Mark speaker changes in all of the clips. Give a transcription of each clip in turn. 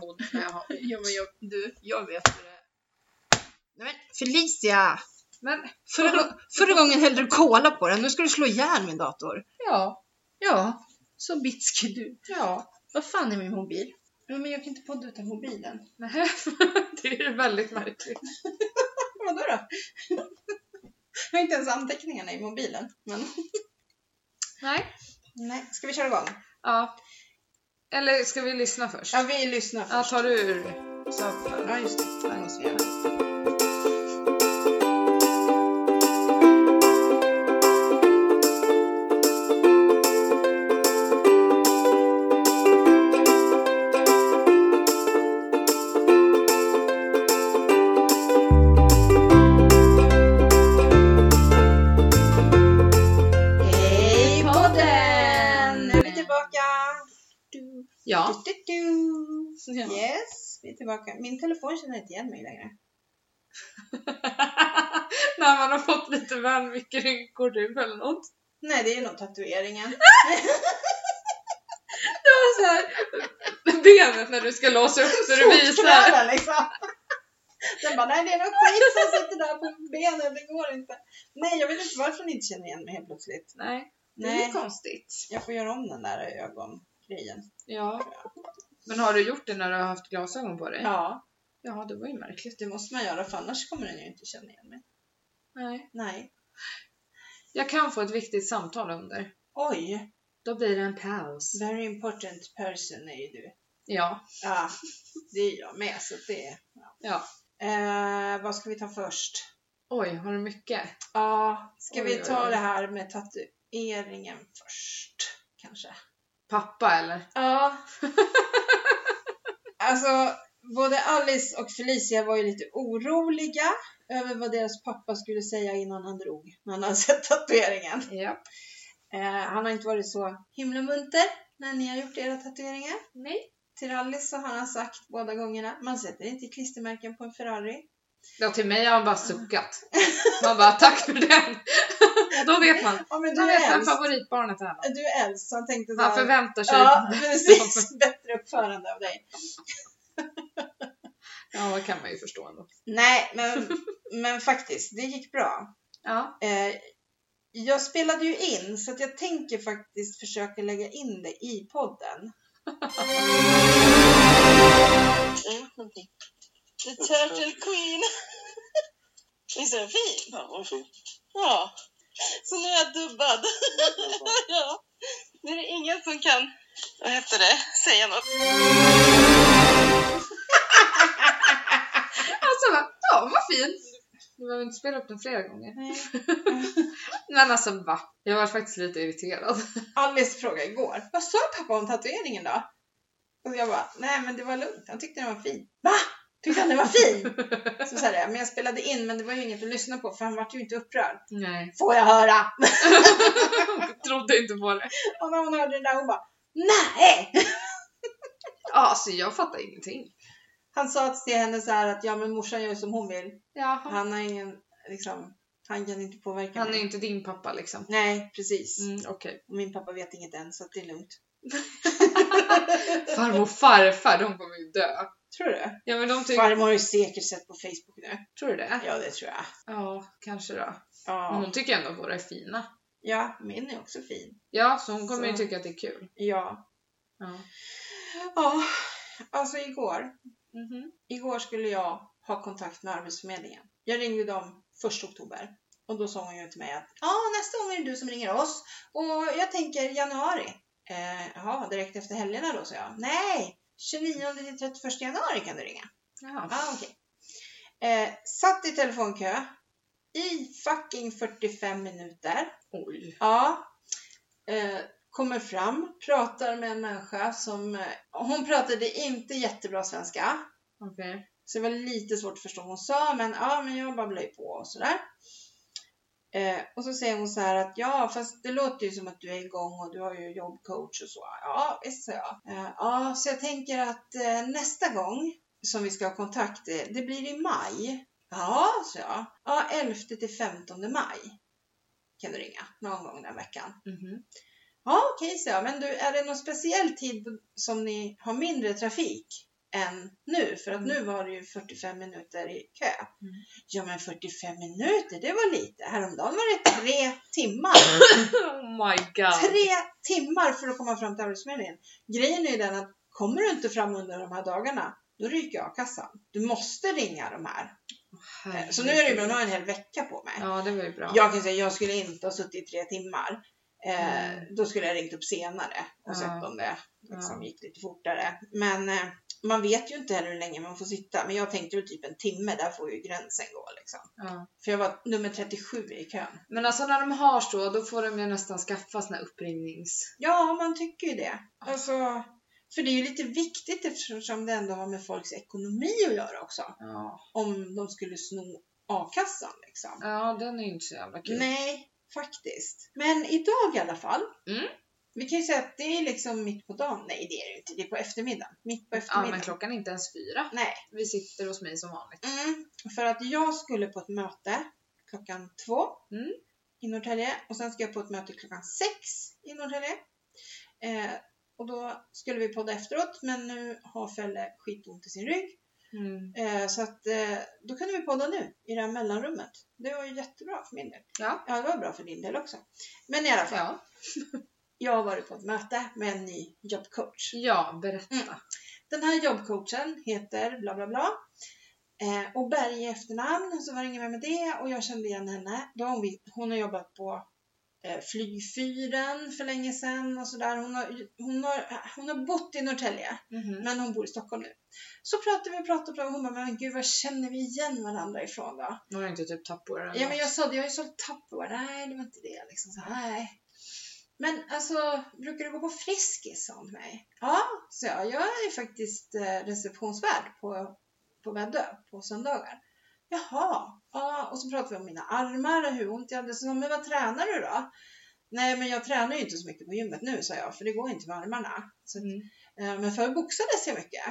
Speaker 1: mod. Jag har. Jo, men jag, du, jag vet hur det är. Nej, men Felicia!
Speaker 2: Men
Speaker 1: Förra, förra gången hällde du cola på den, nu ska du slå ihjäl min dator.
Speaker 2: ja,
Speaker 1: Ja, så bitsk du.
Speaker 2: ja.
Speaker 1: Vad fan är min mobil? Jo, men jag kan inte podda utan mobilen.
Speaker 2: Nej, det är väldigt märkligt.
Speaker 1: Vadå då? Jag har inte ens anteckningarna i mobilen. Men...
Speaker 2: Nej.
Speaker 1: Nej, ska vi köra igång?
Speaker 2: Ja. Eller ska vi lyssna först?
Speaker 1: Ja, vi lyssnar
Speaker 2: Ja, tar du ur
Speaker 1: Ja, just det. Det måste vi göra. Hej podden! Nu är vi tillbaka! Du,
Speaker 2: Ja.
Speaker 1: du, du, du.
Speaker 2: ja.
Speaker 1: Yes, vi är tillbaka. Min telefon känner inte igen mig längre.
Speaker 2: När man har fått lite väl mycket rynkor typ eller något.
Speaker 1: Nej, det är nog tatueringen.
Speaker 2: Det var så här, benet när du ska låsa upp så du visar.
Speaker 1: Fotknölen liksom. Den bara, nej det är någon skit som sitter där på benen, det går inte. Nej, jag vet inte varför ni inte känner igen mig helt plötsligt.
Speaker 2: Nej, det är ju
Speaker 1: Nej,
Speaker 2: konstigt.
Speaker 1: jag får göra om den där ögongrejen.
Speaker 2: Ja. Men har du gjort det när du har haft glasögon på dig?
Speaker 1: Ja,
Speaker 2: Ja, det var ju märkligt.
Speaker 1: det måste man göra för annars kommer den ju inte känna igen mig.
Speaker 2: Nej.
Speaker 1: Nej.
Speaker 2: Jag kan få ett viktigt samtal under.
Speaker 1: Oj,
Speaker 2: Då blir det en paus.
Speaker 1: very important person är ju du.
Speaker 2: Ja.
Speaker 1: Ja, det är jag med så det... Ja.
Speaker 2: Ja.
Speaker 1: Eh, vad ska vi ta först?
Speaker 2: Oj, har du mycket?
Speaker 1: Ja, ska
Speaker 2: Oj,
Speaker 1: vi
Speaker 2: oj,
Speaker 1: ta
Speaker 2: oj.
Speaker 1: det här med tatueringen först? Kanske.
Speaker 2: Pappa eller?
Speaker 1: Ja. alltså, både Alice och Felicia var ju lite oroliga över vad deras pappa skulle säga innan han drog, när han hade sett tatueringen.
Speaker 2: Ja.
Speaker 1: Eh, han har inte varit så himla munter när ni har gjort era tatueringar.
Speaker 2: Nej.
Speaker 1: Till Alice så har han sagt båda gångerna, man sätter inte klistermärken på en Ferrari.
Speaker 2: Ja, till mig har han bara suckat. Man bara, tack för den! Då vet man.
Speaker 1: Ja men du
Speaker 2: Då vet
Speaker 1: är
Speaker 2: man
Speaker 1: äldst.
Speaker 2: favoritbarnet är.
Speaker 1: Du är äldst, så han tänkte så
Speaker 2: Han
Speaker 1: här,
Speaker 2: förväntar sig.
Speaker 1: Ja, precis. Bättre uppförande av dig.
Speaker 2: Ja, det kan man ju förstå ändå.
Speaker 1: Nej, men, men faktiskt, det gick bra.
Speaker 2: Ja.
Speaker 1: Eh, jag spelade ju in, så att jag tänker faktiskt försöka lägga in det i podden.
Speaker 3: The Turtle Queen. Visst är den fin?
Speaker 4: Ja, vad fint.
Speaker 3: Ja. Så nu är jag dubbad. Ja. Nu är det ingen som kan, vad heter det, säga något.
Speaker 2: Alltså, va? ja, vad fint! Du behöver inte spela upp den flera gånger.
Speaker 1: Nej.
Speaker 2: Men alltså va? Jag var faktiskt lite irriterad.
Speaker 1: Alice frågade igår, vad sa pappa om tatueringen då? Och jag bara, nej men det var lugnt, han tyckte den var fin. Va? Tyckte han den var fin? Så sa jag, men jag spelade in, men det var ju inget att lyssna på för han vart ju inte upprörd.
Speaker 2: Nej,
Speaker 1: Får jag höra?
Speaker 2: jag trodde inte på det.
Speaker 1: Och när hon hörde det där, hon bara, nej!
Speaker 2: Alltså jag fattar ingenting.
Speaker 1: Han sa till henne så här att, ja men morsan gör som hon vill.
Speaker 2: Jaha.
Speaker 1: Han har ingen, liksom, han kan inte påverka
Speaker 2: Han är
Speaker 1: mig.
Speaker 2: ju inte din pappa liksom.
Speaker 1: Nej, precis.
Speaker 2: Mm, Okej.
Speaker 1: Och min pappa vet inget än, så att det är lugnt.
Speaker 2: Farmor och farfar, de kommer ju dö.
Speaker 1: Tror du?
Speaker 2: Ja men de tycker...
Speaker 1: Farmor har ju säkert sett på Facebook nu.
Speaker 2: Tror du det?
Speaker 1: Ja, det tror jag.
Speaker 2: Ja, kanske då.
Speaker 1: Ja,
Speaker 2: Men hon tycker ändå att våra är fina.
Speaker 1: ja min är också fin.
Speaker 2: Ja, så hon kommer ju
Speaker 1: Så.
Speaker 2: tycka att det är kul.
Speaker 1: Ja.
Speaker 2: Ja.
Speaker 1: Ja, alltså igår.
Speaker 2: Mhm.
Speaker 1: Igår skulle jag ha kontakt med Arbetsförmedlingen. Jag ringde dem 1 oktober. Och då sa hon ju till mig att ja, nästa gång är det du som ringer oss. Och jag tänker januari. Eh, jaha, direkt efter helgerna då, sa jag. Nej, 29 till 31 januari kan du ringa.
Speaker 2: Jaha.
Speaker 1: Ah, okej. eh, satt i telefonkö i fucking 45 minuter.
Speaker 2: Oj.
Speaker 1: Ja. Eh, kommer fram, pratar med en människa som... Eh, hon pratade inte jättebra svenska.
Speaker 2: Okej.
Speaker 1: Så det var lite svårt att förstå vad hon sa, men ja, men jag babblade ju på och sådär. Eh, och så säger hon så här att ja, fast det låter ju som att du är igång och du har ju jobbcoach och så. Ja, visst sa jag. Eh, ja, så jag tänker att eh, nästa gång som vi ska ha kontakt, eh, det blir i maj. Ja, sa jag. Ja, 11 till 15 maj kan du ringa någon gång den veckan.
Speaker 2: Mhm.
Speaker 1: Ja, okej, sa jag. Men du, är det någon speciell tid som ni har mindre trafik? än nu. För att nu var det ju 45 minuter i kö. Ja men 45 minuter, det var lite. Häromdagen var det tre timmar.
Speaker 2: Oh my god.
Speaker 1: Tre timmar för att komma fram till Arbetsförmedlingen. Grejen är ju den att kommer du inte fram under de här dagarna, då ryker jag kassan. Du måste ringa de här.
Speaker 2: Herregud.
Speaker 1: Så nu är det ju bra, nu har jag en hel vecka på mig.
Speaker 2: Ja, det var ju bra.
Speaker 1: Jag kan säga, jag skulle inte ha suttit i tre timmar. Eh,
Speaker 2: Mm.
Speaker 1: Då skulle jag ringt upp senare och
Speaker 2: Ja.
Speaker 1: sett om det liksom, gick lite fortare. Men eh, man vet ju inte heller hur länge man får sitta. Men jag tänkte ju typ en timme, där får ju gränsen gå liksom.
Speaker 2: Ja.
Speaker 1: För jag var nummer 37 i kön.
Speaker 2: Men alltså när de har så, då får de ju nästan skaffa sina uppringnings...
Speaker 1: Ja, man tycker ju det. Alltså, för det är ju lite viktigt eftersom det ändå har med folks ekonomi att göra också.
Speaker 2: Ja.
Speaker 1: Om de skulle sno a-kassan liksom.
Speaker 2: ja, den är ju inte så jävla kul.
Speaker 1: Nej, faktiskt. Men idag i alla fall.
Speaker 2: Mm.
Speaker 1: Vi kan ju säga att det är liksom mitt på dagen. Nej, det är det ju inte. Det är på eftermiddagen. Mitt på
Speaker 2: Ja, men
Speaker 1: eftermiddagen.
Speaker 2: klockan är inte ens fyra.
Speaker 1: Nej.
Speaker 2: Vi sitter hos mig som vanligt.
Speaker 1: Mm, för att jag skulle på ett möte klockan två
Speaker 2: Mm.
Speaker 1: i Norrtälje och sen ska jag på ett möte klockan sex i Norrtälje. Eh, och då skulle vi podda efteråt, men nu har Felle skitont i sin rygg.
Speaker 2: Mm.
Speaker 1: Eh, så att eh, då kunde vi podda nu i det här mellanrummet. Det var ju jättebra för min del.
Speaker 2: Ja.
Speaker 1: ja, det var bra för din del också. Men i alla fall.
Speaker 2: Ja.
Speaker 1: Jag har varit på ett möte med en ny jobbcoach.
Speaker 2: ja, berätta.
Speaker 1: Mm. Den här jobbcoachen heter bla bla bla. Eh, och Berg i efternamn, så var det inget mer med det. Och jag kände igen henne. Då har hon, vi- hon har jobbat på eh, Flygfyren för länge sedan och sådär. Hon har, hon, har, hon har bott i Norrtälje,
Speaker 2: Mhm.
Speaker 1: men hon bor i Stockholm nu. Så pratade vi och pratade och pratade och hon bara, men gud var känner vi igen varandra ifrån då?
Speaker 2: Nu har jag inte typ Tupperware eller
Speaker 1: Ja men
Speaker 2: något.
Speaker 1: jag sa det, jag har ju sålt Tupperware. Nej det var inte det liksom. Så, nej. Men alltså, brukar du gå på Friskis? sa hon till mig. Ja, så jag. Jag är ju faktiskt eh, receptionsvärd på, på Väddö på söndagar. Jaha, ja. Och så pratade vi om mina armar och hur ont jag hade. Så sa hon, men vad tränar du då? Nej, men jag tränar ju inte så mycket på gymmet nu, sa jag, för det går inte med armarna. Så, att,
Speaker 2: Mm.
Speaker 1: eh, men förr boxades jag mycket.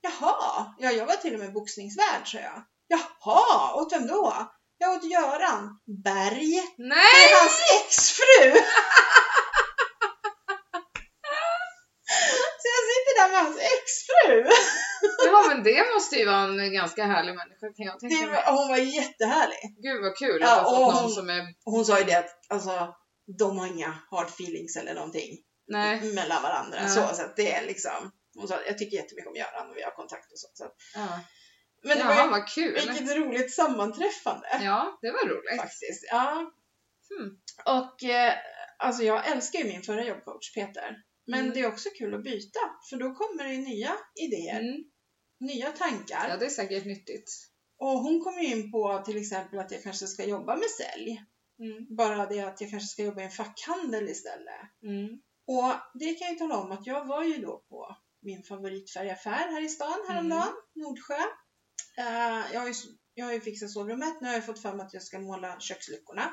Speaker 1: Jaha, ja, jag var till och med boxningsvärd, sa jag. Jaha, åt vem då? Jag åt Göran Berg. Det
Speaker 2: Nej!
Speaker 1: är hans exfru! Så jag sitter där med hans exfru.
Speaker 2: Ja men det måste ju vara en ganska härlig människa kan jag tänka
Speaker 1: Det
Speaker 2: mig.
Speaker 1: var, hon var jättehärlig.
Speaker 2: Gud vad kul
Speaker 1: Ja,
Speaker 2: att ha
Speaker 1: och
Speaker 2: fått
Speaker 1: hon-
Speaker 2: någon som är...
Speaker 1: Hon sa ju det att alltså, de har inga hard feelings eller någonting
Speaker 2: Nej.
Speaker 1: mellan varandra.
Speaker 2: Nej.
Speaker 1: Så, så att det är liksom, hon sa jag tycker jättemycket om Göran och vi har kontakt och så. så att,
Speaker 2: Ja.
Speaker 1: men det
Speaker 2: Jaha,
Speaker 1: var
Speaker 2: vad
Speaker 1: ju,
Speaker 2: kul.
Speaker 1: vilket roligt sammanträffande.
Speaker 2: Ja, det var roligt.
Speaker 1: faktiskt. Ja.
Speaker 2: Hmm.
Speaker 1: Och eh, alltså jag älskar ju min förra jobbcoach Peter. Men
Speaker 2: Mm.
Speaker 1: det är också kul att byta för då kommer det nya idéer,
Speaker 2: Mm.
Speaker 1: nya
Speaker 2: Ja,
Speaker 1: tankar.
Speaker 2: det är säkert nyttigt.
Speaker 1: Och hon kommer ju in på till exempel att jag kanske ska jobba med sälj.
Speaker 2: Mm.
Speaker 1: Bara det att jag kanske ska jobba i en fackhandel istället.
Speaker 2: Mm.
Speaker 1: Och det kan jag ju tala om att jag var ju då på min favoritfärgaffär här i stan häromdagen,
Speaker 2: Mm.
Speaker 1: Nordsjö. Eh, jag, har ju, jag har ju fixat sovrummet, nu har jag fått fram att jag ska måla köksluckorna.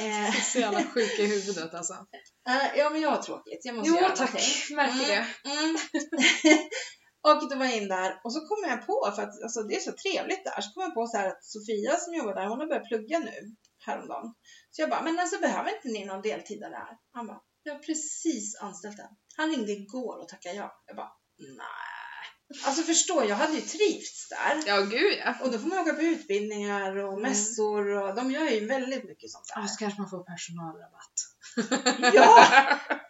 Speaker 1: Eh,
Speaker 2: Så jävla sjuk i huvudet alltså.
Speaker 1: Eh, ja, men jag har tråkigt. Jag måste
Speaker 2: Jo
Speaker 1: göra
Speaker 2: tack,
Speaker 1: någonting.
Speaker 2: märker det.
Speaker 1: Mm. och då var jag in där och så kom jag på, för att alltså, det är så trevligt där, så kom jag på så här att Sofia som jobbar där, hon har börjat plugga nu häromdagen. Så jag bara, men alltså behöver inte ni någon deltidare här? Han bara, jag har precis anställt en. Han ringde igår och tackade ja. Jag bara, nej. Alltså förstå, jag hade ju trivts där.
Speaker 2: Ja, gud ja.
Speaker 1: Och då får man åka på utbildningar
Speaker 2: Mm.
Speaker 1: och mässor och de gör ju väldigt mycket sånt där.
Speaker 2: Ja, så kanske man får personalrabatt.
Speaker 1: Ja!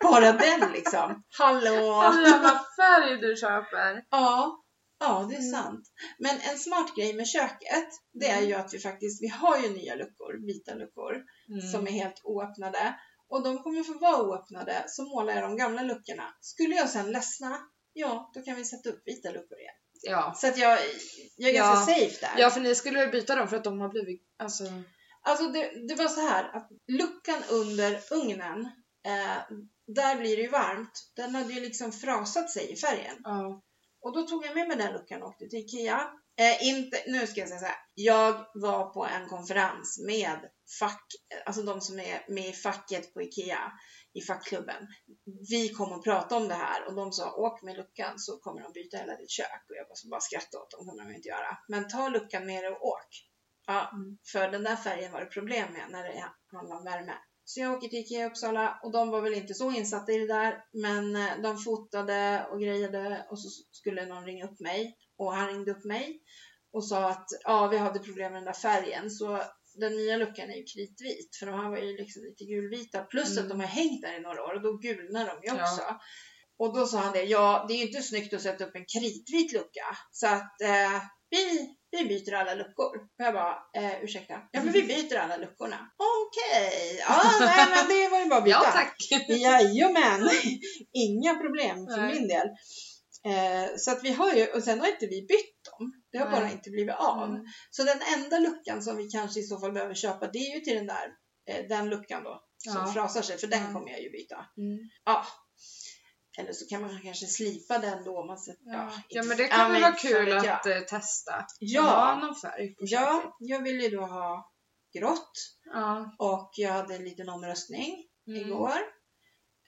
Speaker 1: Bara den liksom. Hallå!
Speaker 2: All jävla färg du köper.
Speaker 1: Ja, ja det är
Speaker 2: Mm.
Speaker 1: sant. Men en smart grej med köket, det är ju att vi faktiskt, vi har ju nya luckor, vita luckor,
Speaker 2: Mm.
Speaker 1: som är helt oöppnade. Och de kommer få vara oöppnade, så målar jag de gamla luckorna. Skulle jag sen ledsna, ja, då kan vi sätta upp vita luckor igen.
Speaker 2: Ja.
Speaker 1: Så att jag, jag är
Speaker 2: Ja.
Speaker 1: ganska safe där.
Speaker 2: ja, för ni skulle ju byta dem för att de har blivit... Alltså...
Speaker 1: Alltså det, det var så här att luckan under ugnen, eh, där blir det ju varmt. Den hade ju liksom frasat sig i färgen.
Speaker 2: Ja.
Speaker 1: Och då tog jag med mig den luckan och åkte till IKEA. Eh, inte, nu ska jag säga så här. Jag var på en konferens med fack, alltså de som är med i facket på IKEA, i fackklubben. Vi kom och pratade om det här och de sa åk med luckan så kommer de byta hela ditt kök. Och jag bara, så bara skrattade åt dem, kommer de inte göra. Men ta luckan med dig och åk. Ja,
Speaker 2: Mm.
Speaker 1: för den där färgen var det problem med när det handlade om värme. Så jag åker till Ikea i Uppsala och de var väl inte så insatta i det där. Men eh, de fotade och grejade och så skulle någon ringa upp mig. Och han ringde upp mig och sa att ja, vi hade problem med den där färgen. Så den nya luckan är ju kritvit. För de här var ju liksom lite gulvita. Plus
Speaker 2: Mm.
Speaker 1: att de har hängt där i några år och då gulnar de ju
Speaker 2: Ja.
Speaker 1: också. Och då sa han det, ja det är ju inte snyggt att sätta upp en kritvit lucka. Så att eh, vi, vi byter alla luckor. Och jag bara, eh, ursäkta? Ja
Speaker 2: Mm.
Speaker 1: men vi byter alla luckorna. Okej, ja nej men det var ju bara att byta.
Speaker 2: Ja, tack.
Speaker 1: Jajamän, inga problem för
Speaker 2: Nej.
Speaker 1: min del. Eh, så att vi har ju, och sen har inte vi bytt dem. Det har
Speaker 2: Nej. Mm.
Speaker 1: bara inte blivit av. Så den enda luckan som vi kanske i så fall behöver köpa det är ju till den där, eh, den luckan då. Som
Speaker 2: Ja.
Speaker 1: frasar sig, för den
Speaker 2: Mm.
Speaker 1: kommer jag ju byta.
Speaker 2: Mm.
Speaker 1: Ja. Eller så kan man kanske slipa den då. om Man sätter,
Speaker 2: Ja.
Speaker 1: inte-
Speaker 2: ja, men det kan väl
Speaker 1: men
Speaker 2: vara
Speaker 1: fan
Speaker 2: kul
Speaker 1: vet jag.
Speaker 2: att eh, testa. Ha
Speaker 1: Ja,
Speaker 2: någon färg på köpet.
Speaker 1: ja, jag ville ju då ha grått
Speaker 2: ja.
Speaker 1: och jag hade en liten omröstning
Speaker 2: Mm.
Speaker 1: igår.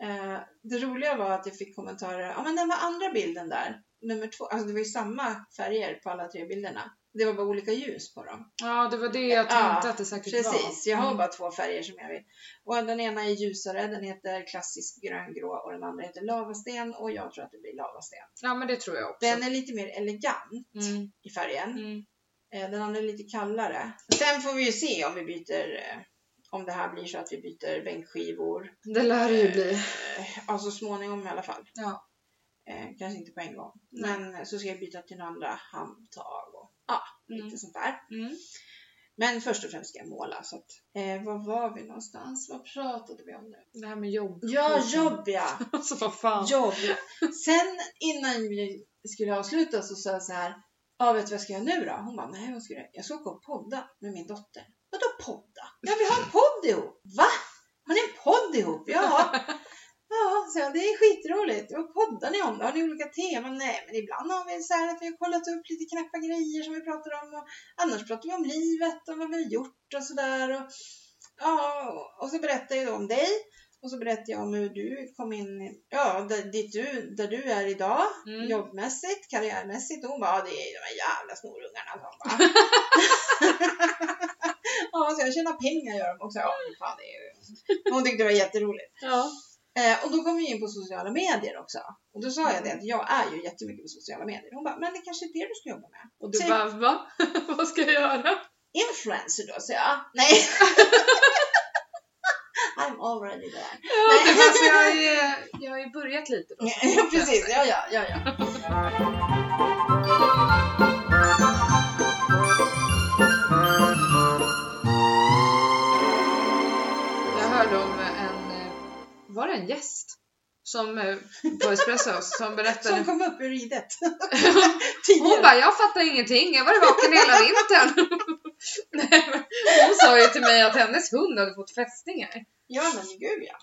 Speaker 1: Eh, det roliga var att jag fick kommentarer. Ja, men den var andra bilden där. Nummer två. Alltså det var ju samma färger på alla tre bilderna. Det var bara olika ljus på dem.
Speaker 2: Ja, det var det jag
Speaker 1: Ja,
Speaker 2: tänkte att det säkert var.
Speaker 1: Precis, jag har
Speaker 2: Mm.
Speaker 1: bara två färger som jag vill. Och den ena är ljusare, den heter klassisk gröngrå och den andra heter lavasten och jag tror att det blir lavasten.
Speaker 2: Ja, men det tror jag också.
Speaker 1: Den är lite mer elegant
Speaker 2: Mm.
Speaker 1: i färgen.
Speaker 2: Mm.
Speaker 1: Eh, Den andra är lite kallare. Sen får vi ju se om vi byter, eh, om det här blir så att vi byter bänkskivor.
Speaker 2: Det lär det ju bli.
Speaker 1: Eh, Ja, så småningom i alla fall.
Speaker 2: Ja.
Speaker 1: Eh, kanske inte på en gång.
Speaker 2: Nej.
Speaker 1: Men eh, så ska jag byta till några andra handtag och lite
Speaker 2: Mm.
Speaker 1: sånt där.
Speaker 2: Mm.
Speaker 1: Men först och främst ska jag måla. Så att, eh, var var vi någonstans? Vad pratade vi om nu?
Speaker 2: Det här med jobb.
Speaker 1: Ja, jobb ja!
Speaker 2: Alltså vad fan.
Speaker 1: jobb. Sen innan vi skulle avsluta så sa jag så här. Ja, vet du vad jag ska göra nu då? Hon bara, nej vad ska du göra? Jag ska åka och podda med min dotter. Vadå podda? Ja, vi har en podd ihop. Va? Har ni en podd ihop? Ja. Ja, så jag, det är skitroligt. Vad poddar ni om då? Har ni olika teman? Nej, men ibland har vi så här att vi har kollat upp lite knäppa grejer som vi pratar om. Och annars pratar vi om livet och vad vi har gjort och sådär. Och, ja, och så berättar jag då om dig. Och så berättade jag om hur du kom in, i- ja, där, dit du, där du är idag,
Speaker 2: Mm.
Speaker 1: jobbmässigt, karriärmässigt. Och hon bara, "Ja, det är de här jävla snorungarna. Så hon bara. ja, så jag tjänar pengar gör de också. Ja, men fan, det är ju... Hon tyckte det var jätteroligt.
Speaker 2: Ja.
Speaker 1: Eh, och då kom vi in på sociala medier också. Och då sa jag det att jag är ju jättemycket på sociala medier. Hon bara, men det kanske är det du ska jobba med?
Speaker 2: Och du
Speaker 1: Typ.
Speaker 2: bara, va? vad ska jag göra?
Speaker 1: Influencer då, sa jag. Nej! I'm already there.
Speaker 2: Ja, det är bara, så jag, är, jag har ju börjat lite då.
Speaker 1: Ja, precis. Ja, ja, ja, ja.
Speaker 2: Jag hörde om en, eh, var det en gäst? Som eh, på Espresso som
Speaker 1: Som
Speaker 2: berättade.
Speaker 1: kom upp ur ridet.
Speaker 2: Hon
Speaker 1: Tidigare.
Speaker 2: bara, jag fattar ingenting, jag var vaken hela vintern. Nej, men hon sa ju till mig att hennes hund hade fått fästingar.
Speaker 1: Ja, men gud ja.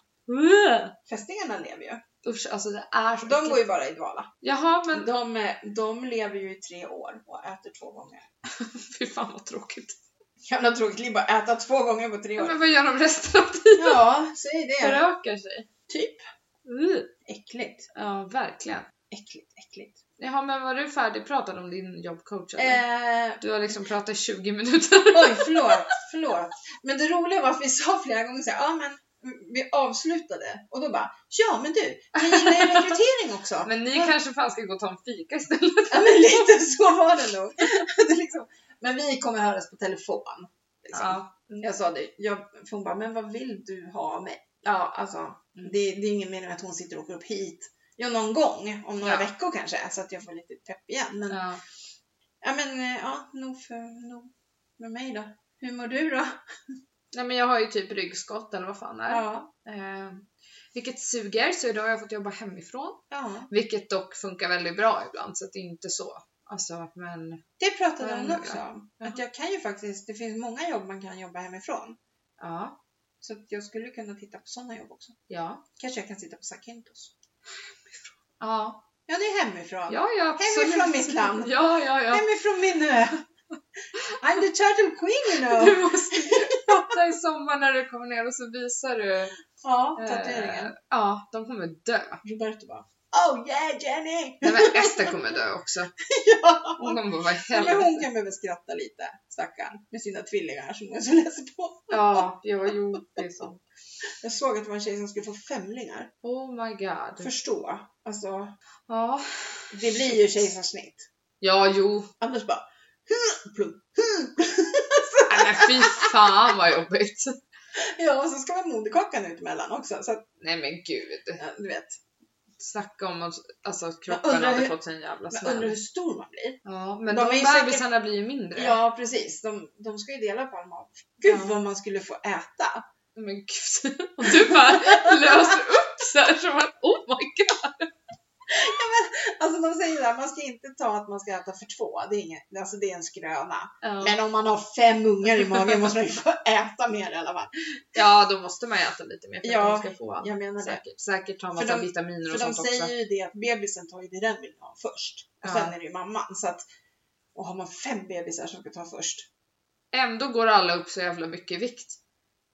Speaker 1: Fästingarna lever ju.
Speaker 2: Usch, alltså det är så
Speaker 1: De
Speaker 2: äckligt.
Speaker 1: går ju bara i dvala.
Speaker 2: Jaha, men
Speaker 1: De, eh, de lever ju i tre år och äter två gånger.
Speaker 2: fy fan vad tråkigt.
Speaker 1: Jävla tråkigt liv bara äta två gånger på tre
Speaker 2: Ja,
Speaker 1: år.
Speaker 2: men vad gör de resten av tiden?
Speaker 1: Ja, säg det.
Speaker 2: Förökar sig.
Speaker 1: Typ.
Speaker 2: Uh.
Speaker 1: Äckligt.
Speaker 2: Ja, verkligen.
Speaker 1: Äckligt, äckligt.
Speaker 2: Jaha, men var du färdigpratad om din jobbcoach eller?
Speaker 1: Eh,
Speaker 2: Du har liksom pratat i 20 minuter.
Speaker 1: oj, förlåt. Förlåt. Men det roliga var att vi sa flera gånger så här, ja men mm, vi avslutade och då bara, ja men du, vi gillar ju rekrytering också.
Speaker 2: Men ni kanske fan ska gå och ta en fika istället?
Speaker 1: Ja men lite så var det nog. Det är liksom, men vi kommer höras på telefon. Liksom.
Speaker 2: Ja.
Speaker 1: Jag sa det, jag, för hon bara, men vad vill du ha av mig? Ja alltså,
Speaker 2: Mm.
Speaker 1: det, det är ingen mening att hon sitter och åker upp hit. Ja någon gång, om några
Speaker 2: Ja.
Speaker 1: veckor kanske, så att jag får lite pepp igen. Men, ja.
Speaker 2: ja.
Speaker 1: men eh, ja, nog för nog med mig då. Hur mår du då?
Speaker 2: Nej men jag har ju typ ryggskott eller vad fan det är.
Speaker 1: Ja.
Speaker 2: Eh, vilket suger, så idag har jag fått jobba hemifrån.
Speaker 1: ja.
Speaker 2: Vilket dock funkar väldigt bra ibland, så att det är inte så. Alltså, men
Speaker 1: Det pratade hon
Speaker 2: Ja,
Speaker 1: också om.
Speaker 2: ja.
Speaker 1: Att jag kan ju faktiskt, det finns många jobb man kan jobba hemifrån.
Speaker 2: ja.
Speaker 1: Så att jag skulle kunna titta på sådana jobb också.
Speaker 2: Ja.
Speaker 1: Kanske jag kan titta på Sakintos.
Speaker 2: Ja.
Speaker 1: Ja, det är hemifrån.
Speaker 2: Ja, ja absolut.
Speaker 1: Hemifrån mitt land.
Speaker 2: Ja, ja, ja.
Speaker 1: Hemifrån min ö. I'm the turtle queen you know.
Speaker 2: Du måste fatta i sommar när du kommer ner och så visar du.
Speaker 1: Ja,
Speaker 2: eh,
Speaker 1: tatueringar.
Speaker 2: ja, de kommer dö.
Speaker 1: Roberto bara, Oh yeah Jenny!
Speaker 2: Nej men Ester kommer dö också.
Speaker 1: Ja.
Speaker 2: Hon kommer bara vara i
Speaker 1: Eller
Speaker 2: helvete.
Speaker 1: hon kan behöva skratta lite, stackarn, med sina tvillingar som hon så läser på.
Speaker 2: Ja, jo, jo, det är så.
Speaker 1: Jag såg att det var en tjej som skulle få femlingar.
Speaker 2: Oh my god.
Speaker 1: Förstå. Alltså,
Speaker 2: Ja.
Speaker 1: det blir ju kejsarsnitt.
Speaker 2: Ja, jo.
Speaker 1: Annars bara... plum.
Speaker 2: Nej, men fy fan vad jobbigt.
Speaker 1: Ja, och så ska man moderkakan ut emellan också. Så att,
Speaker 2: Nej men gud.
Speaker 1: ja, du vet.
Speaker 2: Snacka om att alltså, att kroppen
Speaker 1: Jag undrar
Speaker 2: hade
Speaker 1: hur-
Speaker 2: fått en jävla
Speaker 1: Man undrar hur
Speaker 2: smäll.
Speaker 1: stor man blir.
Speaker 2: Ja, men
Speaker 1: De
Speaker 2: de,
Speaker 1: är ju
Speaker 2: bebisarna blir ju mindre.
Speaker 1: Ja, precis. De, de ska ju dela på all mat. Gud
Speaker 2: Ja.
Speaker 1: vad man skulle få äta.
Speaker 2: Men gud. Och du bara löser upp så här som att oh my god.
Speaker 1: Alltså de säger att man ska inte ta att man ska äta för två. Det är, inget, alltså, det är en skröna.
Speaker 2: Ja.
Speaker 1: Men om man har fem ungar i magen måste man ju få äta mer i alla fall.
Speaker 2: ja, då måste man ju äta lite mer för att
Speaker 1: Ja,
Speaker 2: man ska få allt.
Speaker 1: Jag menar det.
Speaker 2: Säkert, säkert tar
Speaker 1: För
Speaker 2: massa
Speaker 1: de-
Speaker 2: vitaminer
Speaker 1: För
Speaker 2: och
Speaker 1: de
Speaker 2: sånt också.
Speaker 1: säger ju det att bebisen tar ju det den vill ha först. Och
Speaker 2: Ja.
Speaker 1: sen är det ju mamman. Så att, och har man fem bebisar som ska ta först.
Speaker 2: Ändå går alla upp så jävla mycket i vikt.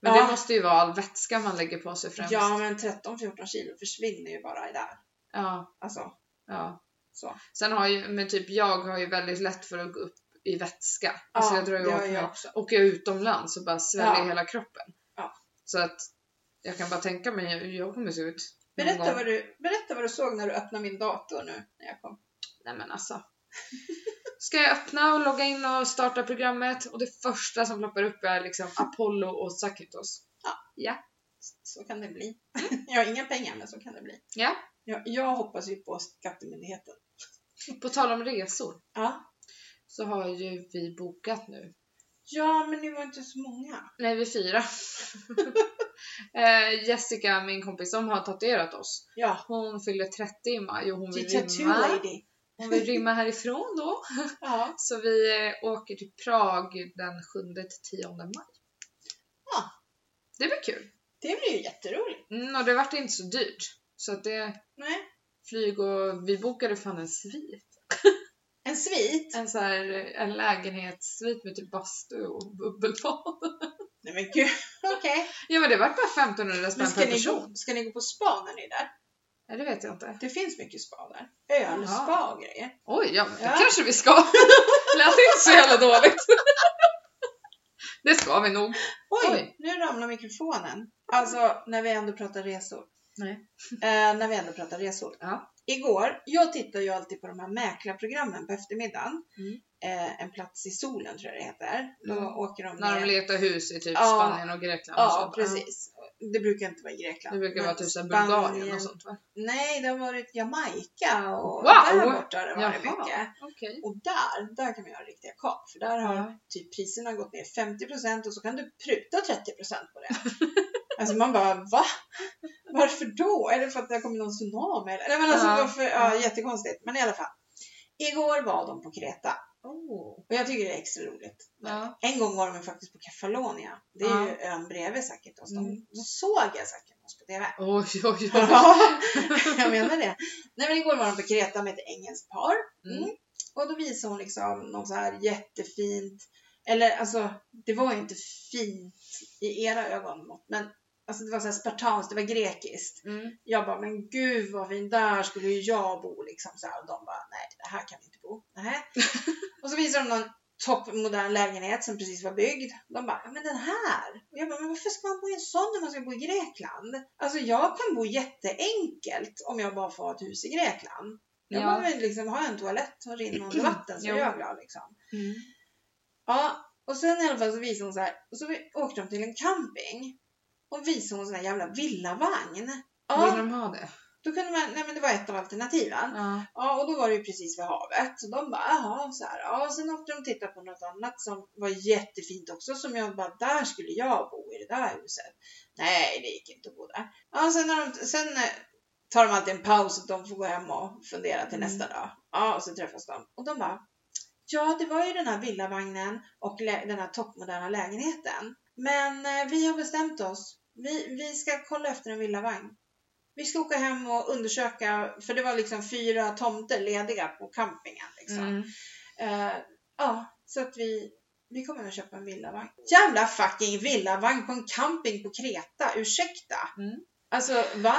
Speaker 2: Men
Speaker 1: Ja.
Speaker 2: det måste ju vara all vätska man lägger på sig främst.
Speaker 1: Ja men 13-14 kilo försvinner ju bara i där.
Speaker 2: ja,
Speaker 1: Alltså,
Speaker 2: ja.
Speaker 1: så.
Speaker 2: Sen har ju, men typ jag har ju väldigt lätt för att gå upp i vätska. Alltså jag drar ju
Speaker 1: det
Speaker 2: åt
Speaker 1: har
Speaker 2: mig.
Speaker 1: jag också.
Speaker 2: Åker jag utomlands och bara sväljer
Speaker 1: Ja.
Speaker 2: hela kroppen.
Speaker 1: Ja.
Speaker 2: Så att jag kan bara tänka mig hur jag kommer se ut. någon
Speaker 1: Berätta
Speaker 2: gång.
Speaker 1: vad, du, berätta vad du såg när du öppnade min dator nu när jag kom.
Speaker 2: Nej men alltså. Ska jag öppna och logga in och starta programmet och det första som ploppar upp är liksom Apollo och Sakitos.
Speaker 1: Så kan det bli. Jag har inga pengar men så kan det bli.
Speaker 2: Mm. Ja.
Speaker 1: Jag, jag hoppas ju på skattemyndigheten.
Speaker 2: På tal om resor
Speaker 1: Ja.
Speaker 2: så har ju vi bokat nu.
Speaker 1: Ja men ni var inte så många.
Speaker 2: Nej, vi är fyra. eh, Jessica, min kompis som har tatuerat oss,
Speaker 1: Ja.
Speaker 2: hon fyller 30 i maj och hon vill,
Speaker 1: Till Tattoo
Speaker 2: rymma.
Speaker 1: Lady.
Speaker 2: hon vill rymma härifrån då.
Speaker 1: Ja.
Speaker 2: Så vi eh, åker till Prag den 7-10 maj.
Speaker 1: Ja.
Speaker 2: Det blir kul.
Speaker 1: Det blir ju jätteroligt.
Speaker 2: Mm, och det vart inte så dyrt. Så att det
Speaker 1: Nej.
Speaker 2: flyg och vi bokade fan en svit.
Speaker 1: En svit.
Speaker 2: En, så här, eh, en lägenhetssvit med typ bastu och bubbelbad.
Speaker 1: Nej men gud. Okej.
Speaker 2: Ja men det vart bara 1500
Speaker 1: Men
Speaker 2: spänn
Speaker 1: ska
Speaker 2: per
Speaker 1: ni, gå,
Speaker 2: person.
Speaker 1: ska ni gå på spa när ni är där?
Speaker 2: Nej, det vet jag inte.
Speaker 1: Det finns mycket spa där. Öl,
Speaker 2: Jaha.
Speaker 1: spa och grejer.
Speaker 2: Oj, ja, men det
Speaker 1: Ja.
Speaker 2: kanske vi ska. Lät inte så jävla dåligt. Det ska vi nog.
Speaker 1: Oj,
Speaker 2: Oj.
Speaker 1: nu ramlar mikrofonen. Alltså när vi ändå pratar resor.
Speaker 2: Nej.
Speaker 1: Eh, när vi ändå pratar resor.
Speaker 2: Ja.
Speaker 1: Igår, jag tittar ju alltid på de här mäklarprogrammen på eftermiddagen.
Speaker 2: Mm.
Speaker 1: Eh, en plats i solen tror jag det heter. Då
Speaker 2: Mm.
Speaker 1: åker de
Speaker 2: När de
Speaker 1: ner.
Speaker 2: letar hus i typ
Speaker 1: Ja.
Speaker 2: Spanien och Grekland och
Speaker 1: Ja,
Speaker 2: sånt.
Speaker 1: precis. Det brukar inte vara i Grekland.
Speaker 2: Det brukar
Speaker 1: men
Speaker 2: vara typ så här
Speaker 1: Spanien-
Speaker 2: Bulgarien och sånt va?
Speaker 1: Nej, det har varit Jamaica och
Speaker 2: Wow!
Speaker 1: där borta har det varit
Speaker 2: Jaha.
Speaker 1: mycket.
Speaker 2: Okej.
Speaker 1: Och där, där kan man göra riktiga kap. För där har
Speaker 2: Ja.
Speaker 1: typ priserna har gått ner 50% och så kan du pruta 30% på det. alltså man bara va? Varför då? Är det för att det har kommit någon tsunami? Eller? Nej, men alltså,
Speaker 2: Ja.
Speaker 1: varför? Ja, jättekonstigt. Men i alla fall. Igår var de på Kreta
Speaker 2: Oh.
Speaker 1: och jag tycker det är extra roligt.
Speaker 2: Ja.
Speaker 1: En gång var de faktiskt på Kefalonia. Det är
Speaker 2: Ja.
Speaker 1: ju ön bredvid Sakitos. De,
Speaker 2: Mm.
Speaker 1: Då såg jag Sakitos på TV.
Speaker 2: Oj, oj, oj.
Speaker 1: Ja, jag menar det. Nej men igår var de på Kreta med ett engelskt par. Mm.
Speaker 2: Mm.
Speaker 1: Och då visade hon liksom något så här jättefint. Eller alltså, det var ju inte fint i era ögon. mått, Men alltså det var så här spartanskt, det var grekiskt.
Speaker 2: Mm.
Speaker 1: Jag bara, men gud vad fint, där skulle ju jag bo liksom. Så här. Och de bara, nej det här kan vi inte bo. Nähä. och så visade de någon toppmodern lägenhet som precis var byggd. De bara, ja, men den här. Och jag bara, men varför ska man bo i en sån när man ska bo i Grekland? Alltså jag kan bo jätteenkelt om jag bara får ha ett hus i Grekland. Jag
Speaker 2: Ja.
Speaker 1: behöver liksom ha en toalett och rinnande vatten så är
Speaker 2: Jo.
Speaker 1: jag glad liksom.
Speaker 2: Mm.
Speaker 1: Ja, och sen i alla fall så visade hon så här. Och så vi- åkte de till en camping. Och visade hon sån här jävla villavagn.
Speaker 2: Vill
Speaker 1: Ja,
Speaker 2: de ha det?
Speaker 1: då kunde man, nej men det var ett av alternativen.
Speaker 2: Ja.
Speaker 1: Ja, och då var det ju precis vid havet. Så de bara, jaha, så här. Ja, och sen åkte de och tittade på något annat som var jättefint också. Som jag bara, där skulle jag bo i det där huset. Nej, det gick inte att bo där. Ja, sen, har de, sen eh, tar de alltid en paus och de får gå hem och fundera till
Speaker 2: Mm.
Speaker 1: nästa dag. Ja, och så träffas de. Och de bara, ja det var ju den här villavagnen och lä- den här toppmoderna lägenheten. Men eh, vi har bestämt oss. Vi, vi ska kolla efter en villavagn. Vi ska åka hem och undersöka, för det var liksom fyra tomter lediga på campingen. Liksom.
Speaker 2: Mm.
Speaker 1: Eh, ja, så att vi, vi kommer att köpa en villavagn. Jävla fucking villavagn på en camping på Kreta, ursäkta!
Speaker 2: Mm.
Speaker 1: Alltså va?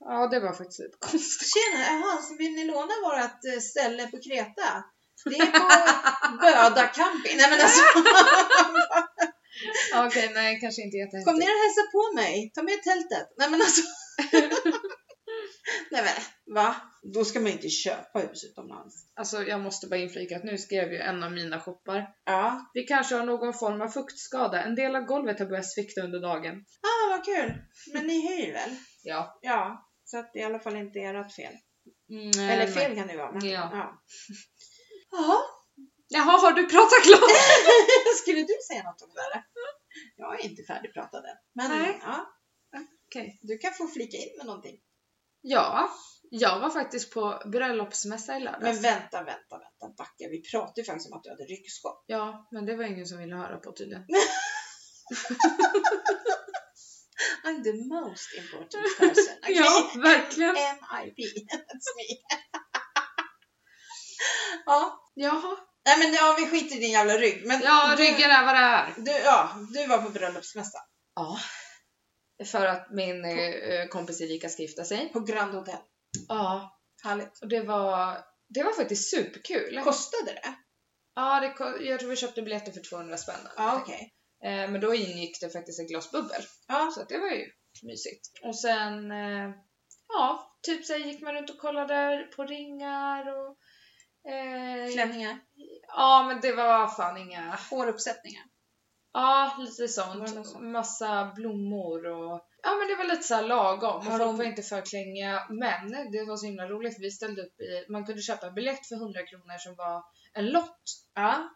Speaker 2: Ja, det var faktiskt lite konstigt.
Speaker 1: Tjena, jaha, så vill ni låna vårat eh, ställe på Kreta? Det är på Böda camping. Nej men alltså,
Speaker 2: Ja, Okej, nej, kanske inte jättehäftigt.
Speaker 1: kom ner och hälsa på mig. Ta med tältet. Nej men alltså. Nej men, va? Då ska man inte köpa hus utomlands.
Speaker 2: Alltså, jag måste bara inflika att nu skrev ju en av mina shoppar.
Speaker 1: Ja,
Speaker 2: Vi kanske har någon form av fuktskada. En del av golvet har börjat svikta under dagen.
Speaker 1: ah, vad kul. Men ni hyr väl?
Speaker 2: Ja.
Speaker 1: Ja, så att det i alla fall inte är ert fel.
Speaker 2: Mm,
Speaker 1: Eller fel kan det ju vara. men-
Speaker 2: Ja.
Speaker 1: ja. Jaha,
Speaker 2: Jaha, har du pratat klart?
Speaker 1: skulle du säga något om det där? Jag är inte färdigpratad än. Men
Speaker 2: Nej.
Speaker 1: ja,
Speaker 2: Okej.
Speaker 1: du kan få flika in med någonting.
Speaker 2: Ja, jag var faktiskt på bröllopsmässa i lördags.
Speaker 1: Men vänta, vänta, vänta, backa. Vi pratade ju faktiskt om att du hade ryggskott.
Speaker 2: Ja, men det var ingen som ville höra på tydligen.
Speaker 1: I'm the most important person. Okay?
Speaker 2: Ja, verkligen.
Speaker 1: MIP, that's me. ja,
Speaker 2: Jaha.
Speaker 1: nej men ja, vi skiter i din jävla rygg. Men
Speaker 2: Ja,
Speaker 1: du,
Speaker 2: ryggen är vad det är.
Speaker 1: Du, ja, du var på bröllopsmässa
Speaker 2: Ja. För att min eh, kompis Erika ska gifta sig.
Speaker 1: på Grand Hotel.
Speaker 2: Ja.
Speaker 1: Härligt.
Speaker 2: Och det var, det var faktiskt superkul.
Speaker 1: Kostade det?
Speaker 2: Ja, det, ko- jag tror vi köpte biljetter för 200 spänn. eller
Speaker 1: Ja,
Speaker 2: någonting.
Speaker 1: okej.
Speaker 2: Eh, Men då ingick det faktiskt ett glas bubbel.
Speaker 1: Ja.
Speaker 2: Så att det var ju mysigt. Och sen, eh, ja, typ så här gick man runt och kollade på ringar och... eh,
Speaker 1: Klänningar?
Speaker 2: Ja, men det var fan inga...
Speaker 1: Håruppsättningar?
Speaker 2: Ja, lite
Speaker 1: Var det
Speaker 2: sånt.
Speaker 1: något sånt?
Speaker 2: Massa blommor och... Ja, men det var lite så här lagom.
Speaker 1: Har
Speaker 2: Och
Speaker 1: de-
Speaker 2: folk var inte för klängiga. Men det var så himla roligt för vi ställde upp i... Man kunde köpa en biljett för 100 kronor som var en lott. Ja.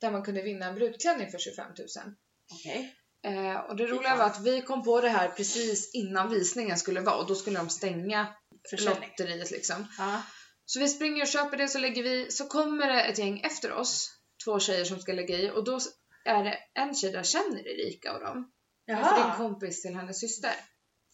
Speaker 2: Där man kunde vinna en brudklänning för 25 000.
Speaker 1: Okej.
Speaker 2: Eh, och det roliga var att vi kom på det här precis innan visningen skulle vara och då skulle de stänga
Speaker 1: Försäljning?
Speaker 2: lotteriet liksom.
Speaker 1: Ja.
Speaker 2: Så vi springer och köper det så lägger vi, så kommer det ett gäng efter oss, två tjejer som ska lägga i och då är det en tjej där känner Erika och dem. Alltså det är en
Speaker 1: Jaha.
Speaker 2: kompis till hennes syster.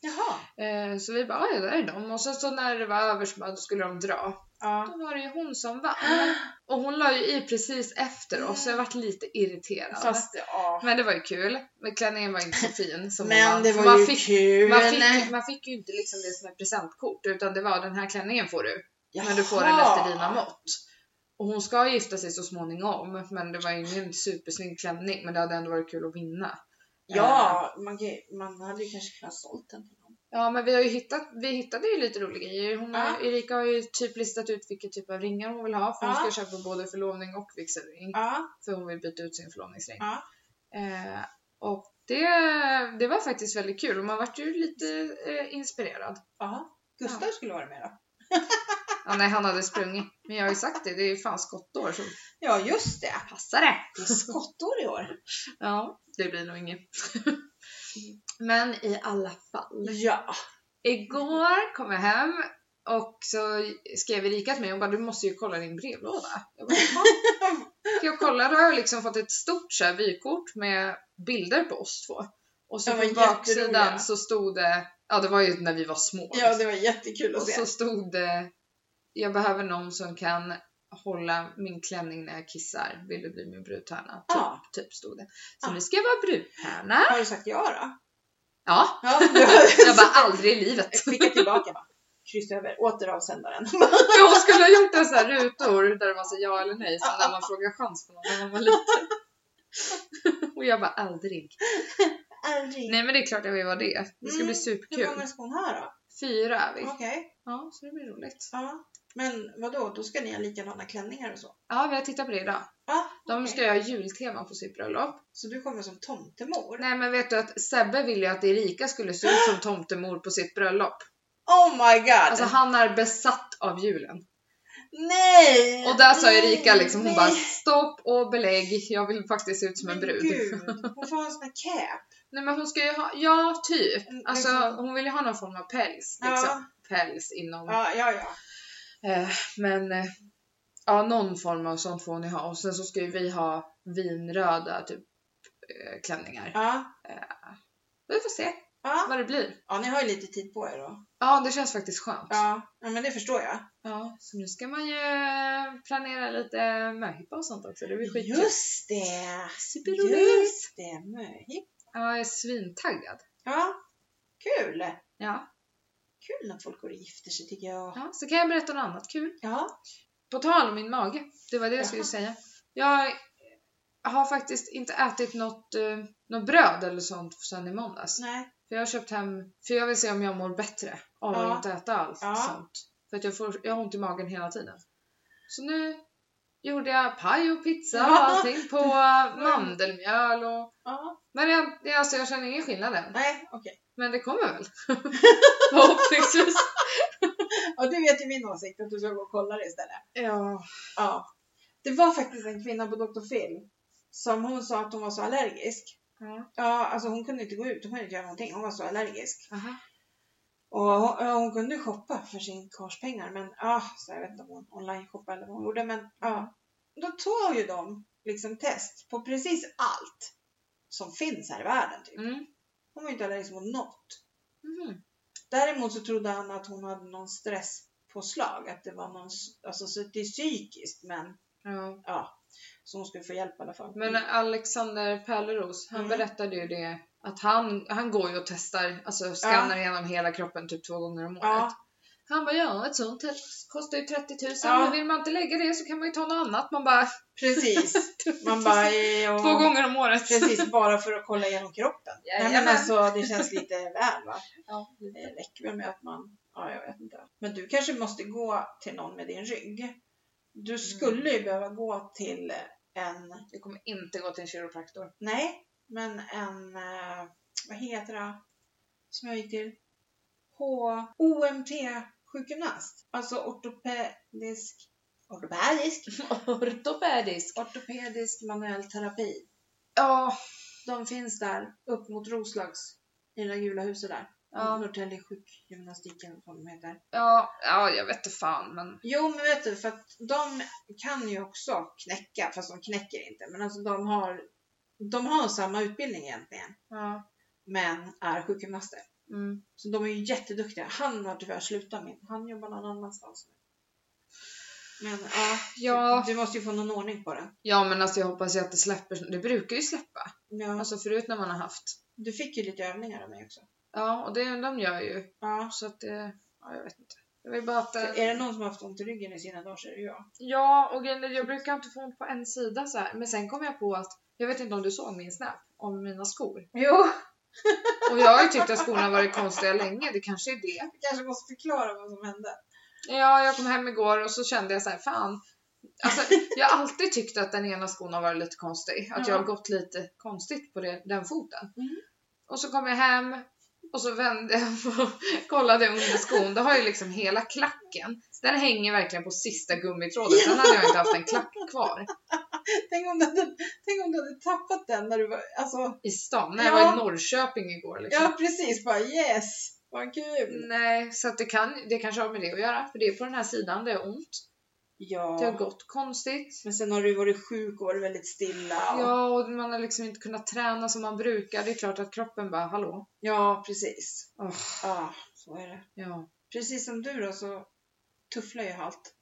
Speaker 1: Jaha.
Speaker 2: Eh, så vi bara, "Ah, ja där är de. Och sen så när det var över så bara, då skulle de dra.
Speaker 1: Ja.
Speaker 2: Då var det ju hon som vann. Och hon la ju i precis efter oss så jag vart lite irriterad.
Speaker 1: Fast ja.
Speaker 2: Men det var ju kul. Men klänningen var inte så fin som hon
Speaker 1: Men det
Speaker 2: För
Speaker 1: var
Speaker 2: man
Speaker 1: ju
Speaker 2: fick,
Speaker 1: kul.
Speaker 2: man, fick, man fick ju inte liksom det som ett presentkort utan det var den här klänningen får du. Men du får den
Speaker 1: Jaha.
Speaker 2: efter dina mått. Och hon ska gifta sig så småningom men det var ingen supersnygg klänning men det hade ändå varit kul att vinna.
Speaker 1: Ja, man, kan ju- man hade ju kanske kunnat sålt den till någon.
Speaker 2: Ja men vi har ju hittat, vi hittade ju lite roliga grejer. Hon har, Erika har ju typ listat ut vilken typ av ringar hon vill ha för hon
Speaker 1: Ja.
Speaker 2: ska köpa både förlovning och vigselring.
Speaker 1: Ja.
Speaker 2: För hon vill byta ut sin förlovningsring.
Speaker 1: Ja.
Speaker 2: Eh, och det, det var faktiskt väldigt kul och man vart ju lite eh, inspirerad.
Speaker 1: ja. Gustav skulle vara med då.
Speaker 2: Ja, nej, han hade sprungit. Men jag har ju sagt det, det är ju fan skottår så
Speaker 1: Ja, just det.
Speaker 2: passar det!
Speaker 1: Det är skottår i år.
Speaker 2: Ja, det blir nog inget. Men i alla fall.
Speaker 1: Ja.
Speaker 2: Igår kom jag hem och så skrev Erika till mig och bara du måste ju kolla din brevlåda. Jag bara, "Jaha." Så jag kollade och jag har liksom fått ett stort så här, vykort med bilder på oss två. Och så
Speaker 1: De var
Speaker 2: på baksidan
Speaker 1: jätteroliga.
Speaker 2: så stod det, ja det var ju när vi var små.
Speaker 1: Ja, det var jättekul att
Speaker 2: och
Speaker 1: se.
Speaker 2: så stod det, jag behöver någon som kan hålla min klänning när jag kissar. Vill du bli min brudtärna? Typ,
Speaker 1: Ja.
Speaker 2: typ stod det. Så
Speaker 1: Ja.
Speaker 2: nu ska jag vara brudtärna.
Speaker 1: Har du sagt ja då?
Speaker 2: Ja,
Speaker 1: Ja, du har
Speaker 2: jag bara aldrig i livet.
Speaker 1: skickat tillbaka bara. Kryss över, åter avsändaren.
Speaker 2: Jag skulle ha gjort en så här rutor där det var så ja eller nej, som när man frågar chans på någon när man var liten. Och jag bara aldrig.
Speaker 1: Aldrig.
Speaker 2: Nej men det är klart jag vill vara det. Det ska
Speaker 1: Mm,
Speaker 2: bli
Speaker 1: Hur
Speaker 2: superkul.
Speaker 1: många ska hon ha då?
Speaker 2: Fyra är vi.
Speaker 1: Okej.
Speaker 2: Ja, så det blir roligt.
Speaker 1: Ja. Men vadå, då ska ni ha likadana klänningar och så?
Speaker 2: Ja, vi har tittat på det idag.
Speaker 1: Ja,
Speaker 2: De
Speaker 1: okej.
Speaker 2: ska göra jultema på sitt bröllop.
Speaker 1: Så du kommer som tomtemor?
Speaker 2: Nej men vet du att Sebbe ville ju att Erika skulle se ut som tomtemor på sitt bröllop.
Speaker 1: Oh my god!
Speaker 2: Alltså han är besatt av julen.
Speaker 1: nej!
Speaker 2: Och där sa Erika
Speaker 1: Nej,
Speaker 2: liksom, hon
Speaker 1: nej.
Speaker 2: bara stopp och belägg, jag vill faktiskt se ut som en
Speaker 1: Men
Speaker 2: brud.
Speaker 1: Gud, hon får ha en sån här cap.
Speaker 2: Nej men hon ska ju ha, ja typ.
Speaker 1: Mm,
Speaker 2: Alltså
Speaker 1: liksom.
Speaker 2: hon vill ju ha någon form av päls.
Speaker 1: Ja.
Speaker 2: Liksom. Päls inom.
Speaker 1: Ja, ja, ja.
Speaker 2: Eh, men eh, ja, någon form av sånt får hon ju ha. Och sen så ska ju vi ha vinröda typ eh, klänningar.
Speaker 1: Ja,
Speaker 2: Vi får se
Speaker 1: ja.
Speaker 2: vad det blir.
Speaker 1: ja ni har ju lite tid på er då.
Speaker 2: Ja det känns faktiskt skönt.
Speaker 1: Ja, ja men det förstår jag.
Speaker 2: Ja, så nu ska man ju planera lite möhippa och sånt också. Det blir skitkul.
Speaker 1: Just det!
Speaker 2: Superroligt!
Speaker 1: Just det, möhippa.
Speaker 2: Ja, jag är svintaggad.
Speaker 1: Ja, kul!
Speaker 2: Ja.
Speaker 1: kul när folk går och gifter sig tycker jag.
Speaker 2: Ja, så kan jag berätta något annat kul.
Speaker 1: Ja.
Speaker 2: På tal om min mage, det var det jag skulle
Speaker 1: Jaha.
Speaker 2: säga. Jag har faktiskt inte ätit något, eh, något bröd eller sånt sedan i måndags.
Speaker 1: Nej.
Speaker 2: För jag har köpt hem, för jag vill se om jag mår bättre av att
Speaker 1: Ja.
Speaker 2: inte äta allt
Speaker 1: Ja.
Speaker 2: sånt. För att jag, får, jag har ont i magen hela tiden. Så nu gjorde jag paj och pizza och
Speaker 1: Ja. Mm.
Speaker 2: allting på mandelmjöl och...
Speaker 1: Ja.
Speaker 2: Men jag, jag- alltså jag känner ingen skillnad än.
Speaker 1: Nej, okej.
Speaker 2: Men det kommer väl. Förhoppningsvis.
Speaker 1: Och du vet ju min åsikt att du ska gå och kolla det istället.
Speaker 2: Ja.
Speaker 1: Ja. Det var faktiskt en kvinna på Dr. Phil som hon sa att hon var så allergisk.
Speaker 2: Ja.
Speaker 1: Ja, alltså hon kunde inte gå ut, hon kunde inte göra någonting, hon var så allergisk.
Speaker 2: Aha.
Speaker 1: Och hon, ja, hon kunde ju shoppa för sin kars pengar men ja, så jag vet inte om hon online-shoppade eller vad hon gjorde men ja. Då tog ju de liksom test på precis allt som finns här i världen typ.
Speaker 2: Mm.
Speaker 1: Hon var ju inte allergisk mot något.
Speaker 2: Mhm.
Speaker 1: Däremot så trodde han att hon hade någon stresspåslag, att det var någon, s- alltså så att det är psykiskt men
Speaker 2: Ja.
Speaker 1: ja, så hon skulle få hjälp i alla fall.
Speaker 2: Men Alexander Pärleros, han
Speaker 1: Mm.
Speaker 2: berättade ju det att han, han går ju och testar, alltså skannar igenom hela kroppen typ två gånger om året.
Speaker 1: ja,
Speaker 2: Han bara ja, ett sånt test kostar ju 30 000
Speaker 1: Ja.
Speaker 2: men vill man inte lägga det så kan man ju ta något annat. Man bara,
Speaker 1: precis. Man bara, ja,
Speaker 2: två gånger om året.
Speaker 1: Precis, bara för att kolla igenom kroppen. Nej, men
Speaker 2: Jajamän.
Speaker 1: alltså det känns lite väl va?
Speaker 2: Ja.
Speaker 1: Det räcker väl med att man, ja jag vet inte. Men du kanske måste gå till någon med din rygg. Du skulle ju behöva gå till en,
Speaker 2: Det kommer inte gå till en kiropraktor.
Speaker 1: nej, men en, eh, vad heter det, som jag gick till? H, OMT sjukgymnast. Alltså ortopedisk, ortopedisk,
Speaker 2: Ortopedisk.
Speaker 1: ortopedisk manuell terapi.
Speaker 2: Ja,
Speaker 1: De finns där upp mot Roslags i det där gula huset där.
Speaker 2: Ja.
Speaker 1: Norrtälje sjukgymnastik eller vad de heter.
Speaker 2: ja, ja, jag vet inte fan men
Speaker 1: Jo men vet du för att de kan ju också knäcka fast de knäcker inte. Men alltså de har, de har samma utbildning egentligen
Speaker 2: ja.
Speaker 1: men är sjukgymnaster.
Speaker 2: Mm.
Speaker 1: Så de är ju jätteduktiga. Han har tyvärr slutat med. Han jobbar någon annanstans nu. Men ja,
Speaker 2: Ja.
Speaker 1: Du, du måste ju få någon ordning på det.
Speaker 2: ja, men alltså jag hoppas ju att det släpper. Det brukar ju släppa.
Speaker 1: Ja.
Speaker 2: Alltså förut när man har haft.
Speaker 1: Du fick ju lite övningar av mig också.
Speaker 2: Ja, och det de gör ju.
Speaker 1: Ja.
Speaker 2: Så att det, ja jag vet inte. Jag vill bara att
Speaker 1: För
Speaker 2: det...
Speaker 1: Är det någon som har haft ont i ryggen i sina dagar så är det jag.
Speaker 2: Ja, och grejen är, jag brukar inte få ont på en sida så här. Men sen kom jag på att, jag vet inte om du såg min snap om mina skor.
Speaker 1: Jo,
Speaker 2: Och jag har ju tyckt att skorna varit konstiga länge, det kanske är det.
Speaker 1: Vi kanske måste förklara vad som hände.
Speaker 2: Ja, jag kom hem igår och så kände jag så här, fan. Alltså, jag har alltid tyckt att den ena skon har varit lite konstig, att jag har
Speaker 1: Ja.
Speaker 2: gått lite konstigt på det, den foten.
Speaker 1: Mm.
Speaker 2: Och så kom jag hem och så vände jag och kollade under skon, då har ju liksom hela klacken, den hänger verkligen på sista gummitråden, sen hade jag inte haft en klack kvar
Speaker 1: Tänk om du hade, tänk om du hade tappat den när du var... Alltså,
Speaker 2: i stan, när jag
Speaker 1: Ja.
Speaker 2: var i Norrköping igår liksom. Mm.
Speaker 1: ja, precis. Bara yes! Vad kul!
Speaker 2: Nej, så att det, kan, det kanske har med det att göra, för det är på den här sidan det är ont. Det har
Speaker 1: Ja.
Speaker 2: gått konstigt.
Speaker 1: Men sen har du varit sjuk och varit väldigt stilla. Och,
Speaker 2: Ja, och man har liksom inte kunnat träna som man brukar. Det är klart att kroppen bara, hallå?
Speaker 1: ja, precis.
Speaker 2: Åh,
Speaker 1: Ja, så är det.
Speaker 2: ja.
Speaker 1: Precis som du då så tufflar ju allt.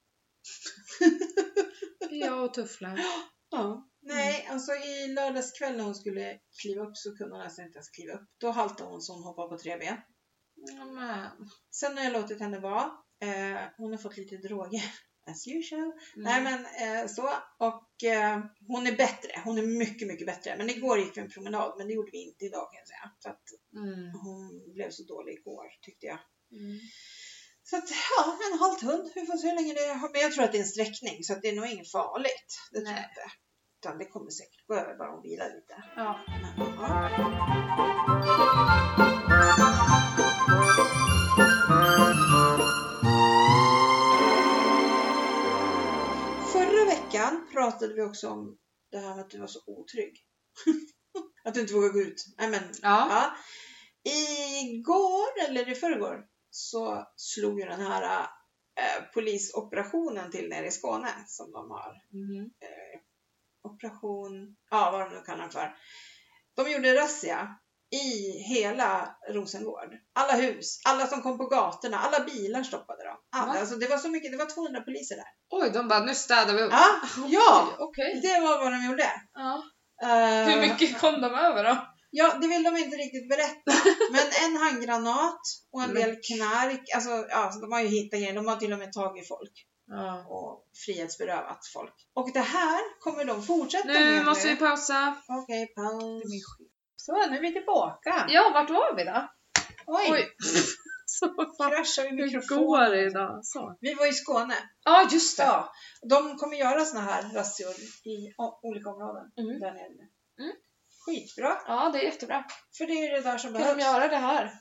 Speaker 2: ja, och tufflar.
Speaker 1: Ja. Nej, alltså i lördagskväll när hon skulle kliva upp så kunde hon nästan inte ens kliva upp. Då haltade hon så hon hoppade på tre ben.
Speaker 2: Amen.
Speaker 1: Sen har jag låtit henne vara. Eh, hon har fått lite droger. As usual. Nej
Speaker 2: Mm.
Speaker 1: men eh, så. Och eh, hon är bättre. Hon är mycket, mycket bättre. Men igår gick vi en promenad, men det gjorde vi inte idag kan jag säga. För att
Speaker 2: Mm.
Speaker 1: hon blev så dålig igår tyckte jag.
Speaker 2: Mm.
Speaker 1: Så att ja, en halt hund. Vi får se hur länge det har. Men jag tror att det är en sträckning så att det är nog inget farligt. Det tror jag
Speaker 2: Nej.
Speaker 1: inte. Utan det kommer säkert gå över bara hon vilar lite.
Speaker 2: Ja.
Speaker 1: Men, ja. Förra veckan pratade vi också om det här med att du var så otrygg. att du inte vågar gå ut. Nej, men,
Speaker 2: Ja.
Speaker 1: ja. Igår, eller i förrgår, så slog ju den här eh, polisoperationen till nere i Skåne som de har
Speaker 2: Mm.
Speaker 1: operation, ja vad de nu kallar den för. De gjorde razzia i hela Rosengård. Alla hus, alla som kom på gatorna, alla bilar stoppade de. Alla,
Speaker 2: Va?
Speaker 1: alltså det var så mycket, det var 200 poliser där.
Speaker 2: Oj, de bara, nu städar vi upp.
Speaker 1: Ja, ja
Speaker 2: Okej.
Speaker 1: det var vad de gjorde.
Speaker 2: Ja.
Speaker 1: Eh,
Speaker 2: Hur mycket kom de över då?
Speaker 1: Ja, det vill de inte riktigt berätta. Men en handgranat och en
Speaker 2: Men-
Speaker 1: del knark. Alltså, ja, så de har ju hittat grejer. De har till och med tagit folk
Speaker 2: Ja.
Speaker 1: och frihetsberövat folk. Och det här kommer de fortsätta med.
Speaker 2: Nu måste vi pausa.
Speaker 1: Okej, paus. Så, nu är vi tillbaka.
Speaker 2: Ja, vart var vi då?
Speaker 1: Oj, Oj.
Speaker 2: Oj. Så fan,
Speaker 1: kraschar vi
Speaker 2: hur
Speaker 1: mikrofonen.
Speaker 2: går det idag? Så.
Speaker 1: Vi var i Skåne.
Speaker 2: Ja, just det.
Speaker 1: Ja, de kommer göra såna här razzior i o- olika områden
Speaker 2: Mm.
Speaker 1: där nere nu.
Speaker 2: Mm.
Speaker 1: Skitbra,
Speaker 2: Ja, det är jättebra.
Speaker 1: för det är ju det där som
Speaker 2: Kan
Speaker 1: behövs. Mm.
Speaker 2: de göra det här?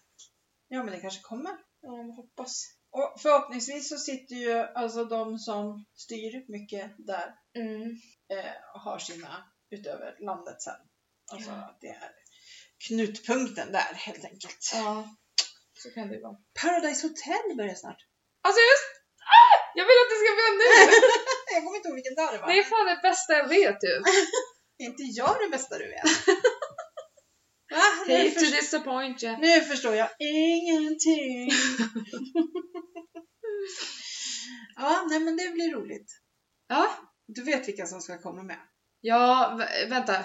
Speaker 1: Ja, men det kanske kommer. Ja, jag hoppas. Och förhoppningsvis så sitter ju alltså de som styr mycket där
Speaker 2: Mm.
Speaker 1: eh, och har sina utöver landet sen. Alltså att det är knutpunkten där helt enkelt.
Speaker 2: Ja, så kan det vara.
Speaker 1: Paradise Hotel börjar snart.
Speaker 2: Alltså just... Ah! Jag vill att det ska börja nu!
Speaker 1: Jag kommer inte ihåg vilken dag det var.
Speaker 2: Det är fan det bästa jag vet ju.
Speaker 1: Är inte jag det bästa du vet? Va? Nu
Speaker 2: Hate to
Speaker 1: förstår-
Speaker 2: disappoint you.
Speaker 1: Nu förstår jag ingenting. ja, nej men det blir roligt.
Speaker 2: Ja,
Speaker 1: Du vet vilka som ska komma med.
Speaker 2: ja vä- vänta.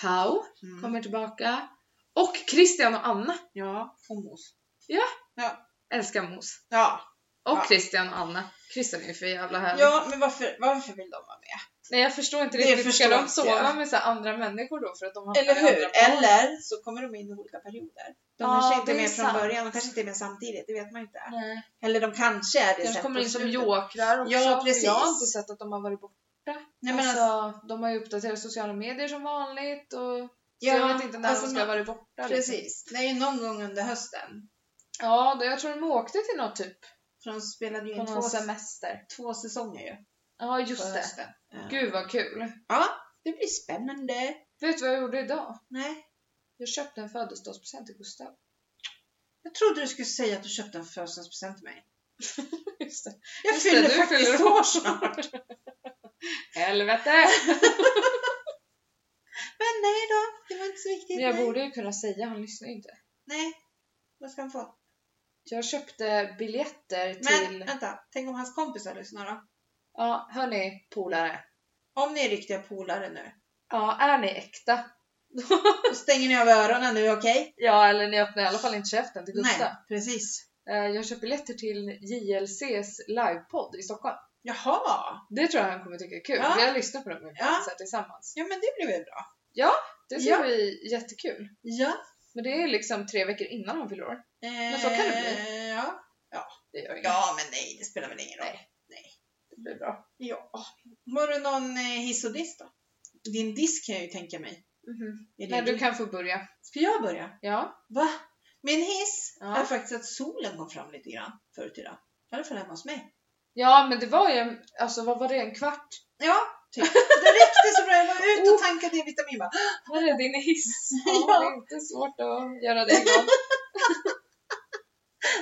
Speaker 2: Pau
Speaker 1: Mm.
Speaker 2: kommer tillbaka. Och Christian och Anna.
Speaker 1: Ja, och mos.
Speaker 2: Älskar Mos.
Speaker 1: Ja.
Speaker 2: Och
Speaker 1: Ja.
Speaker 2: Christian och Anna. Christian är ju för jävla härlig.
Speaker 1: ja, men varför, varför vill de vara med?
Speaker 2: Nej jag förstår inte
Speaker 1: Det
Speaker 2: riktigt. Ska
Speaker 1: förstår
Speaker 2: de
Speaker 1: inte
Speaker 2: sova
Speaker 1: jag.
Speaker 2: med så här andra människor då för att de hamnar
Speaker 1: Eller
Speaker 2: i
Speaker 1: hur?
Speaker 2: andra par?
Speaker 1: Eller så kommer de in i olika perioder. De
Speaker 2: Ja,
Speaker 1: kanske inte
Speaker 2: det
Speaker 1: är
Speaker 2: är
Speaker 1: med från
Speaker 2: sant.
Speaker 1: början, de kanske inte är med samtidigt, det vet man inte.
Speaker 2: Nej.
Speaker 1: Eller de kanske är det
Speaker 2: Kanske
Speaker 1: sen
Speaker 2: kommer
Speaker 1: på
Speaker 2: in som
Speaker 1: slutet.
Speaker 2: jokrar också.
Speaker 1: Ja,
Speaker 2: för
Speaker 1: precis.
Speaker 2: Jag har inte sett att de har varit borta.
Speaker 1: Nej, men
Speaker 2: alltså,
Speaker 1: alltså,
Speaker 2: de har ju uppdaterat sociala medier som vanligt och
Speaker 1: ja,
Speaker 2: så jag vet inte när
Speaker 1: alltså,
Speaker 2: de ska ha varit borta. liksom.
Speaker 1: Precis, det är ju någon gång under hösten.
Speaker 2: Ja, då, jag tror de åkte till något typ
Speaker 1: För de spelade ju
Speaker 2: på
Speaker 1: in två,
Speaker 2: någon semester.
Speaker 1: två säsonger ju.
Speaker 2: Ja,
Speaker 1: på
Speaker 2: just det.
Speaker 1: hösten. Ja.
Speaker 2: Gud vad kul.
Speaker 1: Det blir spännande.
Speaker 2: Vet du vad jag gjorde idag?
Speaker 1: Nej.
Speaker 2: Jag köpte en födelsedagspresent till Gustav.
Speaker 1: Jag trodde du skulle säga att du köpte en födelsedagspresent till mig.
Speaker 2: Just det.
Speaker 1: Jag
Speaker 2: Just det,
Speaker 1: fyller
Speaker 2: du
Speaker 1: faktiskt
Speaker 2: fyller
Speaker 1: år snart.
Speaker 2: Helvete!
Speaker 1: Men nej då, det var inte så viktigt.
Speaker 2: Men jag
Speaker 1: nej.
Speaker 2: borde ju kunna säga, han lyssnar ju inte.
Speaker 1: nej. Vad ska han få?
Speaker 2: Jag köpte biljetter
Speaker 1: Men
Speaker 2: till...
Speaker 1: vänta, tänk om hans kompisar lyssnar då?
Speaker 2: Ja, hörni polare.
Speaker 1: Om ni är riktiga polare nu,
Speaker 2: Ja, är ni äkta?
Speaker 1: då stänger ni av öronen nu, okej?
Speaker 2: Ja, eller ni öppnar i alla fall inte käften till Gustav.
Speaker 1: Nej, precis.
Speaker 2: Eh, Jag köper biljetter till JLCs livepodd i Stockholm.
Speaker 1: Jaha,
Speaker 2: Det tror jag han kommer tycka är kul.
Speaker 1: Ja.
Speaker 2: Vi har lyssnat på dem ibland
Speaker 1: Ja.
Speaker 2: så här tillsammans.
Speaker 1: ja men det blir väl bra.
Speaker 2: Det ser
Speaker 1: Ja.
Speaker 2: vi jättekul.
Speaker 1: Ja.
Speaker 2: Men det är liksom tre veckor innan han fyller år.
Speaker 1: Men
Speaker 2: så kan det
Speaker 1: eh, Ja.
Speaker 2: Det gör inget.
Speaker 1: ja, men nej, det spelar väl ingen roll.
Speaker 2: Nej. Det blir bra.
Speaker 1: Ja. Var det någon eh, hiss och diss då? Din disk kan jag ju tänka mig. Är Mhm. det
Speaker 2: Men du
Speaker 1: din-
Speaker 2: kan få börja.
Speaker 1: Ska jag börja?
Speaker 2: Ja.
Speaker 1: Va? Min hiss
Speaker 2: Ja.
Speaker 1: är faktiskt att solen kom fram lite grann förut idag. I alla fall hemma hos mig.
Speaker 2: Ja, men det var ju, en- alltså vad var det, en kvart?
Speaker 1: Ja, typ. Det räckte så bra. Jag var ute och
Speaker 2: Oh.
Speaker 1: tankade D-vitamin bara.
Speaker 2: Här är din hiss.
Speaker 1: Ja.
Speaker 2: Ja, det är inte svårt att göra det igång.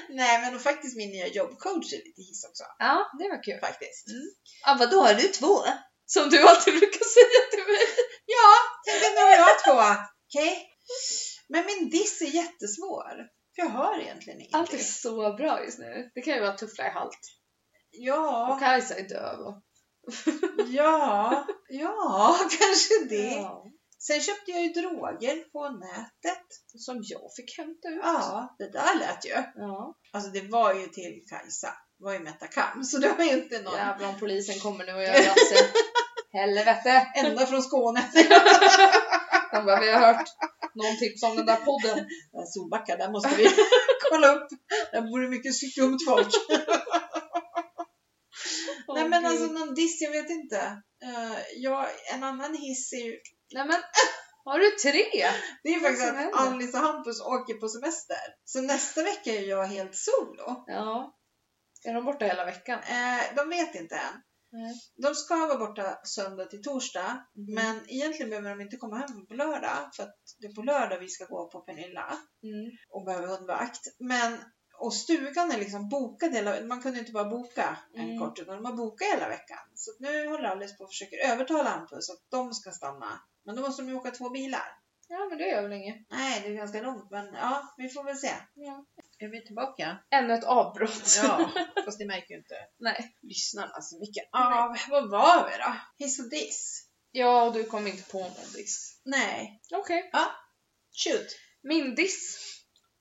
Speaker 1: Nej, men och faktiskt min nya jobbcoach är lite hiss också.
Speaker 2: Ja, det var kul.
Speaker 1: Faktiskt.
Speaker 2: Ja, vadå, har du två? Som du alltid brukar säga till mig.
Speaker 1: Ja, tänkte nu har jag två. Okej. Men min diss är jättesvår. För jag hör egentligen ingenting.
Speaker 2: Allt är så bra just nu. Det kan ju vara tuffla i halt. Och
Speaker 1: Ja,
Speaker 2: Kajsa är döv. Och...
Speaker 1: ja, ja, kanske det.
Speaker 2: Ja.
Speaker 1: Sen köpte jag ju droger på nätet.
Speaker 2: Som jag fick hämta ut.
Speaker 1: Ja, det där lät ju.
Speaker 2: Ja.
Speaker 1: Alltså det var ju till Kajsa. Det var ju Metacam, så det var ju inte någon
Speaker 2: Jävlar om polisen kommer nu och gör razzia. Helvete!
Speaker 1: ända från Skåne.
Speaker 2: De bara, vi har hört någon tips om den där podden.
Speaker 1: Ja, Solbacka, där måste vi kolla upp. Där bor det mycket skumt folk. Nej men alltså någon diss, jag vet inte. Eh, ja, en annan hiss är ju...
Speaker 2: Nej men, har du tre?
Speaker 1: Det är ju
Speaker 2: Vad
Speaker 1: faktiskt
Speaker 2: som
Speaker 1: att
Speaker 2: händer?
Speaker 1: Alice och Hampus åker på semester. Så nästa vecka är jag helt solo.
Speaker 2: Ja. Är de borta hela veckan?
Speaker 1: Eh, de vet inte än.
Speaker 2: Nej.
Speaker 1: De ska vara borta söndag till torsdag.
Speaker 2: Mhm.
Speaker 1: Men egentligen behöver de inte komma hem på lördag. För att det är på lördag vi ska gå på Pernilla.
Speaker 2: Mm.
Speaker 1: och behöver hundvakt. Men, och stugan är liksom bokad hela Man kunde inte bara boka en
Speaker 2: Mm.
Speaker 1: kort utan de har bokat hela veckan. Så att nu håller Alice på och försöker övertala Hampus att de ska stanna. Men då måste de ju åka två bilar.
Speaker 2: Ja men det gör väl inget.
Speaker 1: Nej, det är ganska långt men ja, vi får väl se.
Speaker 2: Ja.
Speaker 1: Är vi tillbaka?
Speaker 2: Ännu ett avbrott.
Speaker 1: Ja, fast det märker ju inte
Speaker 2: Nej.
Speaker 1: lyssnarna så mycket. Ja, Alltså, vad var vi då? Hiss och diss?
Speaker 2: Ja, och du kom inte på någon diss.
Speaker 1: Nej.
Speaker 2: Okej.
Speaker 1: Ja. Shoot!
Speaker 2: Min diss.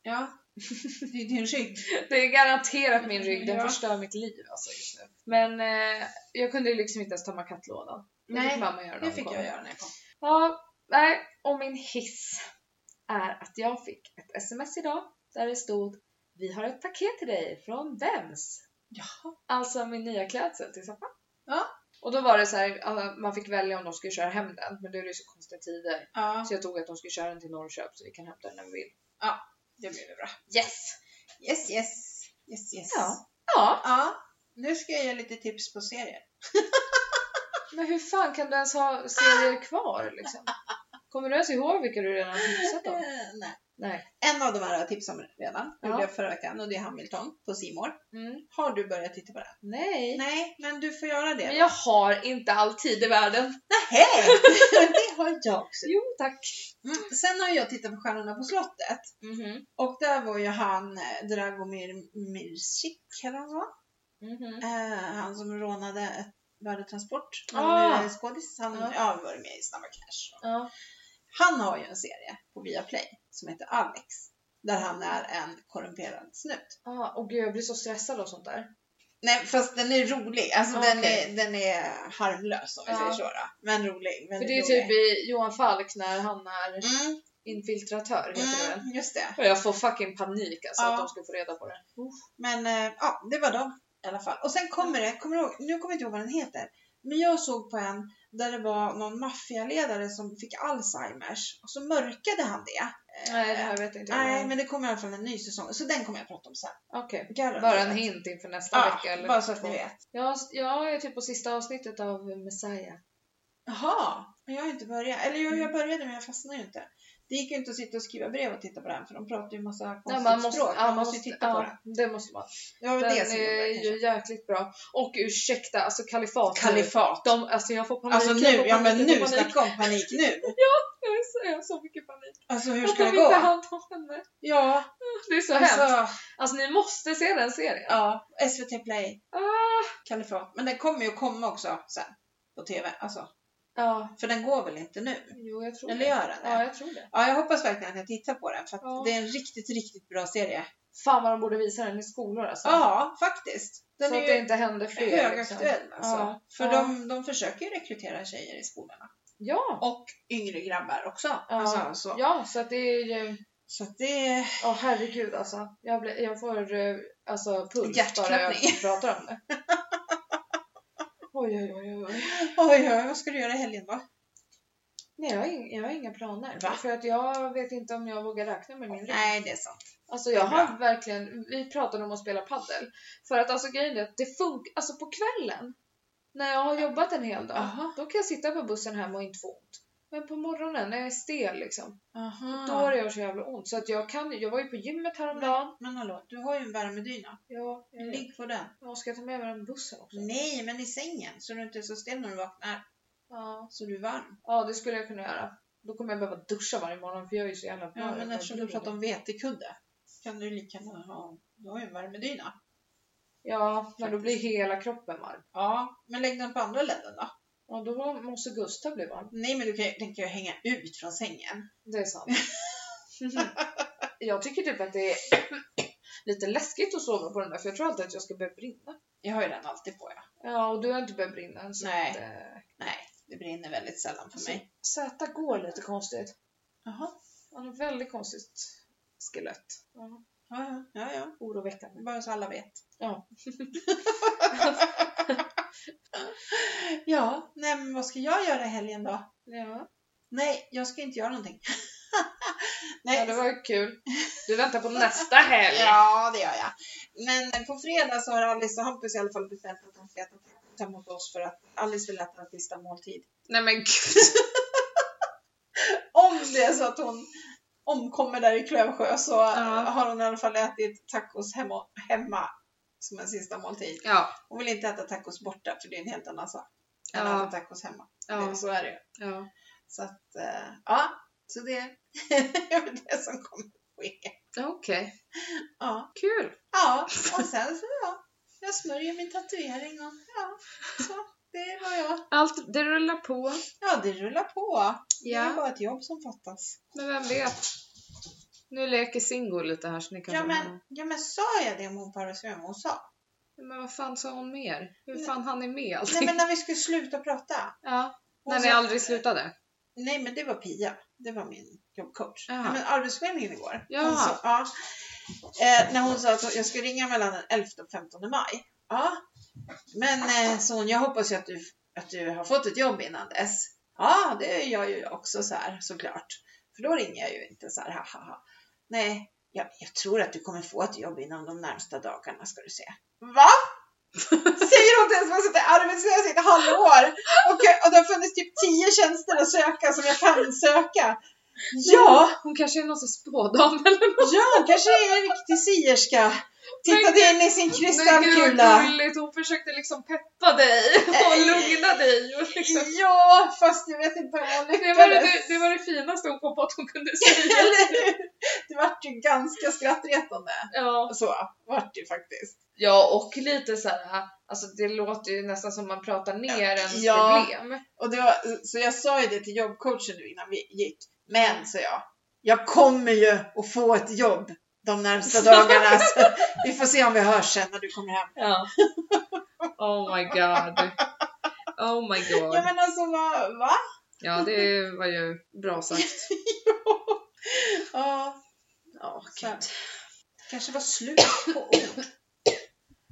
Speaker 1: Ja, det är din rygg.
Speaker 2: Det är garanterat min rygg, den
Speaker 1: Ja.
Speaker 2: förstör mitt liv alltså just nu. Men eh, jag kunde ju liksom inte ens tömma kattlådan. Det
Speaker 1: Nej,
Speaker 2: fick mamma göra när
Speaker 1: Det
Speaker 2: hon
Speaker 1: fick
Speaker 2: kom.
Speaker 1: jag göra när jag kom.
Speaker 2: Ja, nej. Och min hiss är att jag fick ett sms idag där det stod Vi har ett paket till dig från Vems.
Speaker 1: Jaha.
Speaker 2: Alltså min nya klädsel till Sappa.
Speaker 1: Ja.
Speaker 2: Och då var det så här, alla- man fick välja om de skulle köra hem den, men då är det ju så konstiga tider.
Speaker 1: Ja,
Speaker 2: Så jag tog att de skulle köra den till Norrköp så vi kan hämta den när vi vill.
Speaker 1: det blev bra.
Speaker 2: Yes!
Speaker 1: Yes, yes. Yes, yes.
Speaker 2: Ja. Ja,
Speaker 1: ja. Nu ska jag ge lite tips på serier.
Speaker 2: men hur fan kan du ens ha serier kvar liksom? Kommer du ens ihåg vilka du redan har tipsat om?
Speaker 1: Eh, nej.
Speaker 2: Nej.
Speaker 1: En av de här har jag tipsat om redan. Det
Speaker 2: Ja.
Speaker 1: gjorde jag förra veckan och det är Hamilton på Simor.
Speaker 2: Mm.
Speaker 1: Har du börjat titta på den?
Speaker 2: Nej.
Speaker 1: Nej, men du får göra det.
Speaker 2: Men
Speaker 1: då.
Speaker 2: jag har inte all tid i världen.
Speaker 1: Hej! det har jag också.
Speaker 2: Jo tack.
Speaker 1: Mm. Sen har jag tittat på Stjärnorna på slottet.
Speaker 2: Mhm.
Speaker 1: Och där var ju han eh, Dragomir Mirsic, eller han så?
Speaker 2: Mhm.
Speaker 1: Eh, han som rånade ett värdetransport. Han
Speaker 2: Ah.
Speaker 1: är skådis. Han
Speaker 2: Ja.
Speaker 1: har ja. varit med i Snabba Cash. och-
Speaker 2: Ja.
Speaker 1: Han har ju en serie på Viaplay som heter Alex. Där han är en korrumperad snut.
Speaker 2: Ah, och gud jag blir så stressad av sånt där.
Speaker 1: Nej fast den är rolig. Alltså den,
Speaker 2: Okej.
Speaker 1: är, den är harmlös om vi
Speaker 2: Ja.
Speaker 1: säger så. Då. Men rolig.
Speaker 2: För
Speaker 1: väldigt
Speaker 2: det är
Speaker 1: rolig.
Speaker 2: typ i Johan Falk när han är
Speaker 1: Mm,
Speaker 2: infiltratör heter det väl?
Speaker 1: mm, just det.
Speaker 2: Och jag får fucking panik alltså
Speaker 1: Ja.
Speaker 2: att de ska få reda på det.
Speaker 1: Men eh, ja, det var dem i alla fall. Och sen kommer det, kommer du ihåg, nu kommer jag inte ihåg vad den heter. Men jag såg på en där det var någon maffialedare som fick Alzheimers och så mörkade han det. Eh,
Speaker 2: Nej det här vet jag inte.
Speaker 1: Nej, men det kommer i alla fall en ny säsong. Så den kommer jag prata om sen.
Speaker 2: Okej.
Speaker 1: Garanterat.
Speaker 2: Bara en hint inför nästa
Speaker 1: Ja,
Speaker 2: vecka eller
Speaker 1: bara så att
Speaker 2: två.
Speaker 1: ni vet.
Speaker 2: Jag, jag är typ på sista avsnittet av Messiah.
Speaker 1: Jaha, men jag har inte börjat. Eller jag, jag
Speaker 2: Mm.
Speaker 1: började men jag fastnade ju inte. Det gick ju inte att sitta och skriva brev och titta på den för de pratar ju massa
Speaker 2: Nej,
Speaker 1: konstigt språk.
Speaker 2: ja,
Speaker 1: man måste ju titta på den.
Speaker 2: ja, det. måste man.
Speaker 1: Det var väl
Speaker 2: Den
Speaker 1: det som gjorde det
Speaker 2: är
Speaker 1: kanske.
Speaker 2: ju jäkligt bra. Och ursäkta, alltså kalifat.
Speaker 1: Kalifat.
Speaker 2: De, alltså jag får panik.
Speaker 1: Alltså
Speaker 2: jag
Speaker 1: nu,
Speaker 2: får panik,
Speaker 1: ja men
Speaker 2: jag får
Speaker 1: nu,
Speaker 2: panik.
Speaker 1: snacka om panik nu.
Speaker 2: Jag är så- Jag har så mycket panik.
Speaker 1: Alltså hur
Speaker 2: Att
Speaker 1: ska
Speaker 2: de
Speaker 1: det gå?
Speaker 2: inte hann ta henne.
Speaker 1: Ja,
Speaker 2: Det är så hemskt.
Speaker 1: alltså,
Speaker 2: Alltså ni måste se den serien.
Speaker 1: ja, SVT Play,
Speaker 2: Ah,
Speaker 1: Kalifat. Men den kommer ju komma också sen på TV. Alltså,
Speaker 2: ja,
Speaker 1: för den går väl inte nu?
Speaker 2: jo jag tror
Speaker 1: Eller
Speaker 2: det.
Speaker 1: gör den
Speaker 2: Ja,
Speaker 1: det?
Speaker 2: jag tror det.
Speaker 1: Ja, jag hoppas verkligen att jag tittar på den för att
Speaker 2: Ja.
Speaker 1: det är en riktigt, riktigt bra serie.
Speaker 2: Fan vad de borde visa den i skolor alltså.
Speaker 1: Ja, faktiskt. Den
Speaker 2: så
Speaker 1: är
Speaker 2: att det
Speaker 1: ju
Speaker 2: inte händer fler. liksom.
Speaker 1: högaktuell alltså.
Speaker 2: Ja.
Speaker 1: För
Speaker 2: Ja.
Speaker 1: De, de försöker ju rekrytera tjejer i skolorna.
Speaker 2: Ja.
Speaker 1: Och yngre grabbar också. Alltså, så.
Speaker 2: ja, så att det är ju...
Speaker 1: så att det...
Speaker 2: Ja, herregud alltså. Jag, blir, jag får eh, alltså puls bara
Speaker 1: Hjärtklappning.
Speaker 2: jag pratar om det. Oj, oj, oj, oj.
Speaker 1: Oj, oj, vad ska du göra i helgen då?
Speaker 2: Nej, jag har, inga, jag har inga planer.
Speaker 1: Va?
Speaker 2: För att jag vet inte om jag vågar räkna med min rygg.
Speaker 1: Nej, det är sant.
Speaker 2: Alltså jag
Speaker 1: Det är
Speaker 2: har verkligen, vi pratade om att spela paddel. För att alltså grejen är att det funkar, alltså på kvällen när jag har jobbat en hel dag,
Speaker 1: Aha.
Speaker 2: då kan jag sitta på bussen hem och inte få ont. Men på morgonen när jag är stel liksom,
Speaker 1: Aha.
Speaker 2: då har jag så jävla ont. Så att jag kan jag var ju på gymmet häromdagen.
Speaker 1: Men hallå, du har ju en värmedyna.
Speaker 2: Ja, jag,
Speaker 1: Ligg på den.
Speaker 2: jag ska ta med mig den bussen också.
Speaker 1: Nej, men i sängen så du inte är så stel när du vaknar.
Speaker 2: Ja.
Speaker 1: Så du är varm.
Speaker 2: ja, det skulle jag kunna göra. Då kommer jag behöva duscha varje morgon för jag är ju så jävla
Speaker 1: Ja, men
Speaker 2: jag
Speaker 1: eftersom du
Speaker 2: blir
Speaker 1: pratar om vetekudde kan du lika gärna ha... Du har ju en värmedyna.
Speaker 2: Ja, men då blir hela kroppen varm.
Speaker 1: Ja, men lägg den på andra länden då.
Speaker 2: Ja, då måste Gustav bli varm.
Speaker 1: Nej, men du kan, ju- den kan ju hänga ut från sängen.
Speaker 2: Det är sant. jag tycker typ att det är lite läskigt att sova på den där för jag tror alltid att jag ska börja brinna.
Speaker 1: Jag har ju den alltid på, ja.
Speaker 2: Ja, och du har inte börjat brinna än. Så
Speaker 1: Nej.
Speaker 2: Att, eh,
Speaker 1: Det brinner väldigt sällan för mig.
Speaker 2: Zäta går lite konstigt.
Speaker 1: Jaha.
Speaker 2: Han har väldigt konstigt skelett. Ja,
Speaker 1: Ja, ja, ja, ja.
Speaker 2: oroväckande.
Speaker 1: Bara så alla vet.
Speaker 2: Ja.
Speaker 1: ja, nej men vad ska jag göra i helgen då?
Speaker 2: Ja.
Speaker 1: Nej, jag ska inte göra någonting.
Speaker 2: ja, det var ju kul. Du väntar på nästa helg.
Speaker 1: Ja, det gör jag. Men på fredag så har Alice och Hampus i alla fall bestämt att de ska äta pizza mot oss för att Alice vill äta en sista måltid.
Speaker 2: Nej men gud.
Speaker 1: Om det är så att hon omkommer där i Klövsjö så har hon i alla fall ätit tacos hemma, hemma som en sista måltid.
Speaker 2: Ja,
Speaker 1: Hon vill inte äta tacos borta för det är en helt annan sak än
Speaker 2: Ja.
Speaker 1: att äta tacos hemma. Det,
Speaker 2: ja,
Speaker 1: så är det ju.
Speaker 2: ja.
Speaker 1: Så att, eh, ja. Så det det är väl det som kommer ske.
Speaker 2: Okej,
Speaker 1: Ja.
Speaker 2: kul.
Speaker 1: ja, och sen så ja. Jag smörjer min tatuering och ja, så. det har jag.
Speaker 2: Allt, det rullar på.
Speaker 1: Ja, det rullar på. Det är
Speaker 2: Ja,
Speaker 1: bara ett jobb som fattas.
Speaker 2: men vem vet. Nu leker Singo lite här så ni kan
Speaker 1: Ja
Speaker 2: få
Speaker 1: men,
Speaker 2: höra.
Speaker 1: ja men sa jag det om hon parasvärm? Hon sa.
Speaker 2: men vad fan sa hon mer? Hur
Speaker 1: Nej.
Speaker 2: fan hann ni med
Speaker 1: Nej Alltså-
Speaker 2: allting?
Speaker 1: men när vi skulle sluta prata.
Speaker 2: Ja,
Speaker 1: Hon
Speaker 2: när ni
Speaker 1: sa-
Speaker 2: aldrig slutade?
Speaker 1: Nej men det var Pia. Det var min jobbcoach.
Speaker 2: Jaha.
Speaker 1: Nej, men arbetsförmedlingen igår.
Speaker 2: Ja.
Speaker 1: Hon sa, ja. Eh, när hon sa att jag skulle ringa mellan den 11 och 15 maj. Ja. Men eh, så hon, jag hoppas ju att du, att du har fått ett jobb innan dess. Ja, det gör ju jag också så här såklart. För då ringer jag ju inte så här ha ha ha. Nej, jag, jag tror att du kommer få ett jobb inom de närmsta dagarna ska du se. Va? Säger hon till en som har suttit arbetslös i ett halvår och, och det har funnits typ tio tjänster att söka som jag kan söka. Ja,
Speaker 2: Hon kanske är någon som spådam eller något.
Speaker 1: ja, hon kanske är en riktig sierska. Tittade in i sin
Speaker 2: gud
Speaker 1: kristallkula.
Speaker 2: vad gulligt, hon försökte liksom peppa dig och
Speaker 1: Nej.
Speaker 2: lugna dig. Och liksom.
Speaker 1: Ja, fast jag vet inte om hon
Speaker 2: det, var det,
Speaker 1: lyckades.
Speaker 2: det- det var det finaste hon kom på att hon kunde säga.
Speaker 1: Eller hur? Det vart ju ganska skrattretande.
Speaker 2: Ja.
Speaker 1: Så vart det faktiskt.
Speaker 2: ja, och lite så här. Alltså det låter ju nästan som man pratar ner ens
Speaker 1: Ja.
Speaker 2: problem.
Speaker 1: Och det var, så jag sa ju det till jobbcoachen nu innan vi gick. Men, sa jag, jag kommer ju att få ett jobb de närmsta dagarna. Så vi får se om vi hörs sen när du kommer hem.
Speaker 2: Ja. Oh my god. Oh my god.
Speaker 1: Ja men alltså vad, va?
Speaker 2: Ja, det var ju bra sagt.
Speaker 1: Ja,
Speaker 2: Ja,
Speaker 1: Så här. kanske var slut på ord.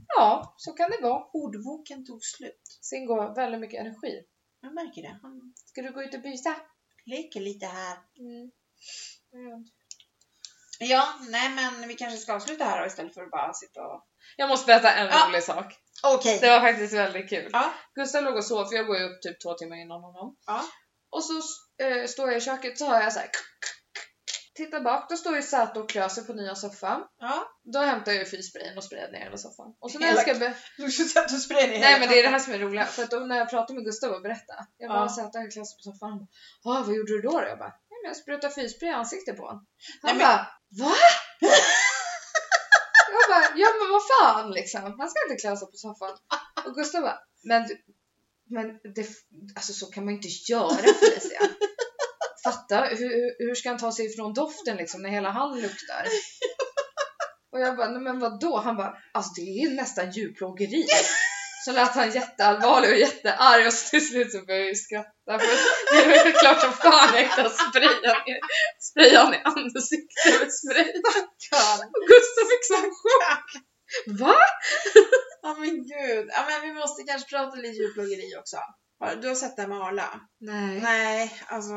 Speaker 2: ja så kan det vara.
Speaker 1: Ordboken tog slut.
Speaker 2: Singo har väldigt mycket energi.
Speaker 1: Jag märker det. Han
Speaker 2: Ska du gå ut och byta?
Speaker 1: leker lite här.
Speaker 2: Mm.
Speaker 1: Mm. Ja, nej men vi kanske ska avsluta här då istället för att bara sitta och...
Speaker 2: Jag måste berätta en
Speaker 1: Ja.
Speaker 2: rolig sak.
Speaker 1: Okej.
Speaker 2: Det var faktiskt väldigt kul.
Speaker 1: Ja.
Speaker 2: Gustav låg och sov, för jag går ju upp typ två timmar innan honom.
Speaker 1: Ja.
Speaker 2: Och så eh, står jag i köket så hör jag så här. Titta bak, då står ju Sato och klöser på nya soffan.
Speaker 1: Ja.
Speaker 2: Då hämtar jag ju fysprayen och sprayar ner hela soffan. Och så när jag
Speaker 1: Hela
Speaker 2: ska be-
Speaker 1: Du ska säga att du spred
Speaker 2: Nej men det är det här som är roligt, för att då när jag pratade med Gustav och berättade, jag bara
Speaker 1: Ja.
Speaker 2: satt där i klass på soffan och bara, "Ah, vad gjorde du då? då? Jag bara, nej men jag sprutade fyrspray i ansiktet på honom. Han
Speaker 1: Nej, men-
Speaker 2: bara, va? jag bara, ja men vad fan liksom, han ska inte klä sig på soffan. Och Gustav bara, men, du- men det, alltså så kan man ju inte göra Felicia. Fatta, hur, hur ska han ta sig ifrån doften liksom när hela han luktar? Och jag bara, nej men vadå? Han bara, alltså det är nästan djurplågeri. Så lät han jätteallvarlig och jättearg och så till slut så började jag ju skratta för det var ju klart som fan jag inte har sprayat ner- sprayat ner ansiktet med spray. Och Gustav fick sån chock. Va?
Speaker 1: Ja men gud. Ja, men vi måste kanske prata lite djurplågeri också. Har- Du har sett det här med Arla?
Speaker 2: Nej.
Speaker 1: Nej, alltså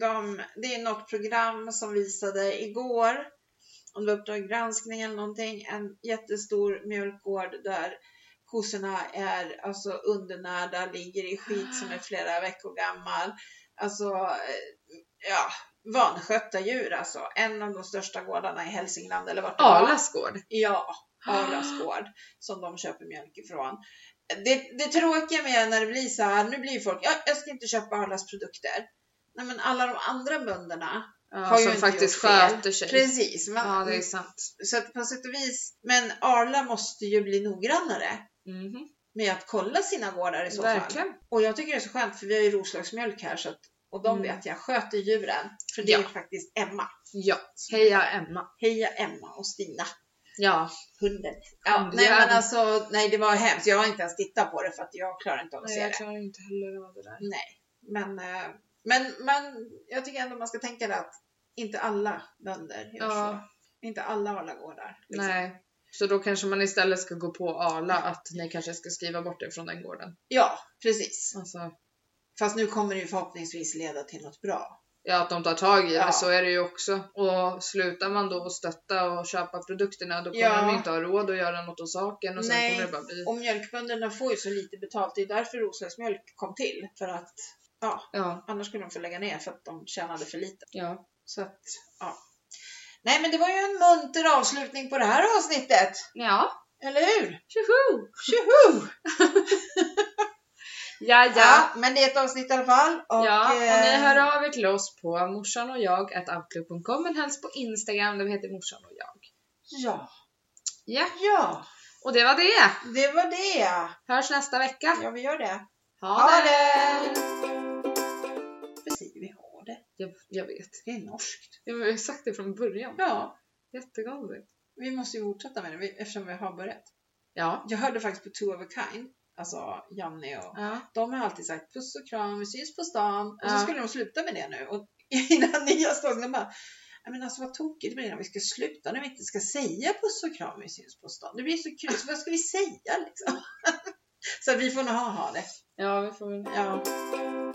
Speaker 1: de, det är något program som visade igår, om det var Uppdrag granskning eller någonting, en jättestor mjölkgård där kossorna är alltså undernärda, ligger i skit som är flera veckor gammal. Alltså, eh, ja, vanskötta djur alltså. En av de största gårdarna i Hälsingland eller vart det var.
Speaker 2: Arlas gård.
Speaker 1: Ja,
Speaker 2: Ah.
Speaker 1: Arlas gård som de köper mjölk ifrån. Det, det tråkiga med när det blir så här, nu blir ju folk, jag, jag ska inte köpa Arlas produkter. Nej men alla de andra bönderna,
Speaker 2: Ja,
Speaker 1: ju
Speaker 2: som
Speaker 1: inte
Speaker 2: faktiskt
Speaker 1: gjort fel.
Speaker 2: sköter sig.
Speaker 1: precis. Man,
Speaker 2: Ja, det är sant.
Speaker 1: Så att på sätt och vis, men Arla måste ju bli noggrannare
Speaker 2: Mhm.
Speaker 1: med att kolla sina gårdar i så fall.
Speaker 2: Verkligen.
Speaker 1: Och jag tycker det är så skönt för vi har ju Roslagsmjölk här så att, och de
Speaker 2: Mm.
Speaker 1: vet jag sköter djuren. För det är
Speaker 2: Ja.
Speaker 1: ju faktiskt Emma.
Speaker 2: Ja. Heja Emma.
Speaker 1: Heja Emma och Stina.
Speaker 2: Ja.
Speaker 1: hunden. Ja,
Speaker 2: Mm,
Speaker 1: nej
Speaker 2: det är
Speaker 1: men
Speaker 2: den.
Speaker 1: alltså, nej det var hemskt. Jag har inte ens tittat på det för att jag klarar inte av att
Speaker 2: Nej,
Speaker 1: se
Speaker 2: jag
Speaker 1: det.
Speaker 2: klarar inte heller av det där.
Speaker 1: Nej, men, eh, men, men jag tycker ändå man ska tänka det att inte alla bönder gör
Speaker 2: Ja.
Speaker 1: så. Inte alla alla går där. liksom.
Speaker 2: Nej. Så då kanske man istället ska gå på Arla att ni kanske ska skriva bort det från den gården.
Speaker 1: Ja, precis.
Speaker 2: Alltså,
Speaker 1: Fast nu kommer det ju förhoppningsvis leda till något bra.
Speaker 2: ja, att de tar tag i det,
Speaker 1: Ja.
Speaker 2: så är det ju också. Och slutar man då att stötta och köpa produkterna, då kommer
Speaker 1: Ja.
Speaker 2: de ju inte ha råd att göra något åt saken och sen
Speaker 1: Nej.
Speaker 2: kommer det bara bli...
Speaker 1: Och mjölkbönderna får ju så lite betalt. Det är därför Roslagsmjölk kom till. För att, ja,
Speaker 2: Ja,
Speaker 1: annars skulle de få lägga ner för att de tjänade för lite.
Speaker 2: ja.
Speaker 1: Så att, ja. Nej men det var ju en munter avslutning på det här avsnittet.
Speaker 2: Ja,
Speaker 1: Eller hur?
Speaker 2: tjoho!
Speaker 1: Tjoho!
Speaker 2: Ja, ja.
Speaker 1: Ja, men det är ett avsnitt i alla fall. Och,
Speaker 2: ja, och ni
Speaker 1: eh,
Speaker 2: hör av er till oss på morsan och jag outlook.com men helst på Instagram där vi heter morsan och jag.
Speaker 1: Ja,
Speaker 2: Ja,
Speaker 1: ja,
Speaker 2: och det var det!
Speaker 1: det var det.
Speaker 2: Hörs nästa vecka!
Speaker 1: Ja, vi gör det. Ha det! Precis, vi har det.
Speaker 2: Jag, jag vet.
Speaker 1: Det är norskt.
Speaker 2: Ja, men vi har sagt det från början.
Speaker 1: Ja,
Speaker 2: Jättekonstigt.
Speaker 1: vi måste ju fortsätta med det vi- eftersom vi har börjat.
Speaker 2: Ja.
Speaker 1: Jag hörde faktiskt på Two of a Kind, alltså Janne och
Speaker 2: ja.
Speaker 1: de har alltid sagt puss och kram, vi syns på stan. Och så
Speaker 2: Ja.
Speaker 1: skulle de sluta med det nu. Och innan nya stan, de bara, "Nej, men alltså vad tokigt det blir när vi ska sluta, när vi inte ska säga puss och kram, vi syns på stan. Det blir så kul, så vad ska vi säga liksom? så vi får nog ha, ha det.
Speaker 2: Ja, vi får väl...
Speaker 1: Ja.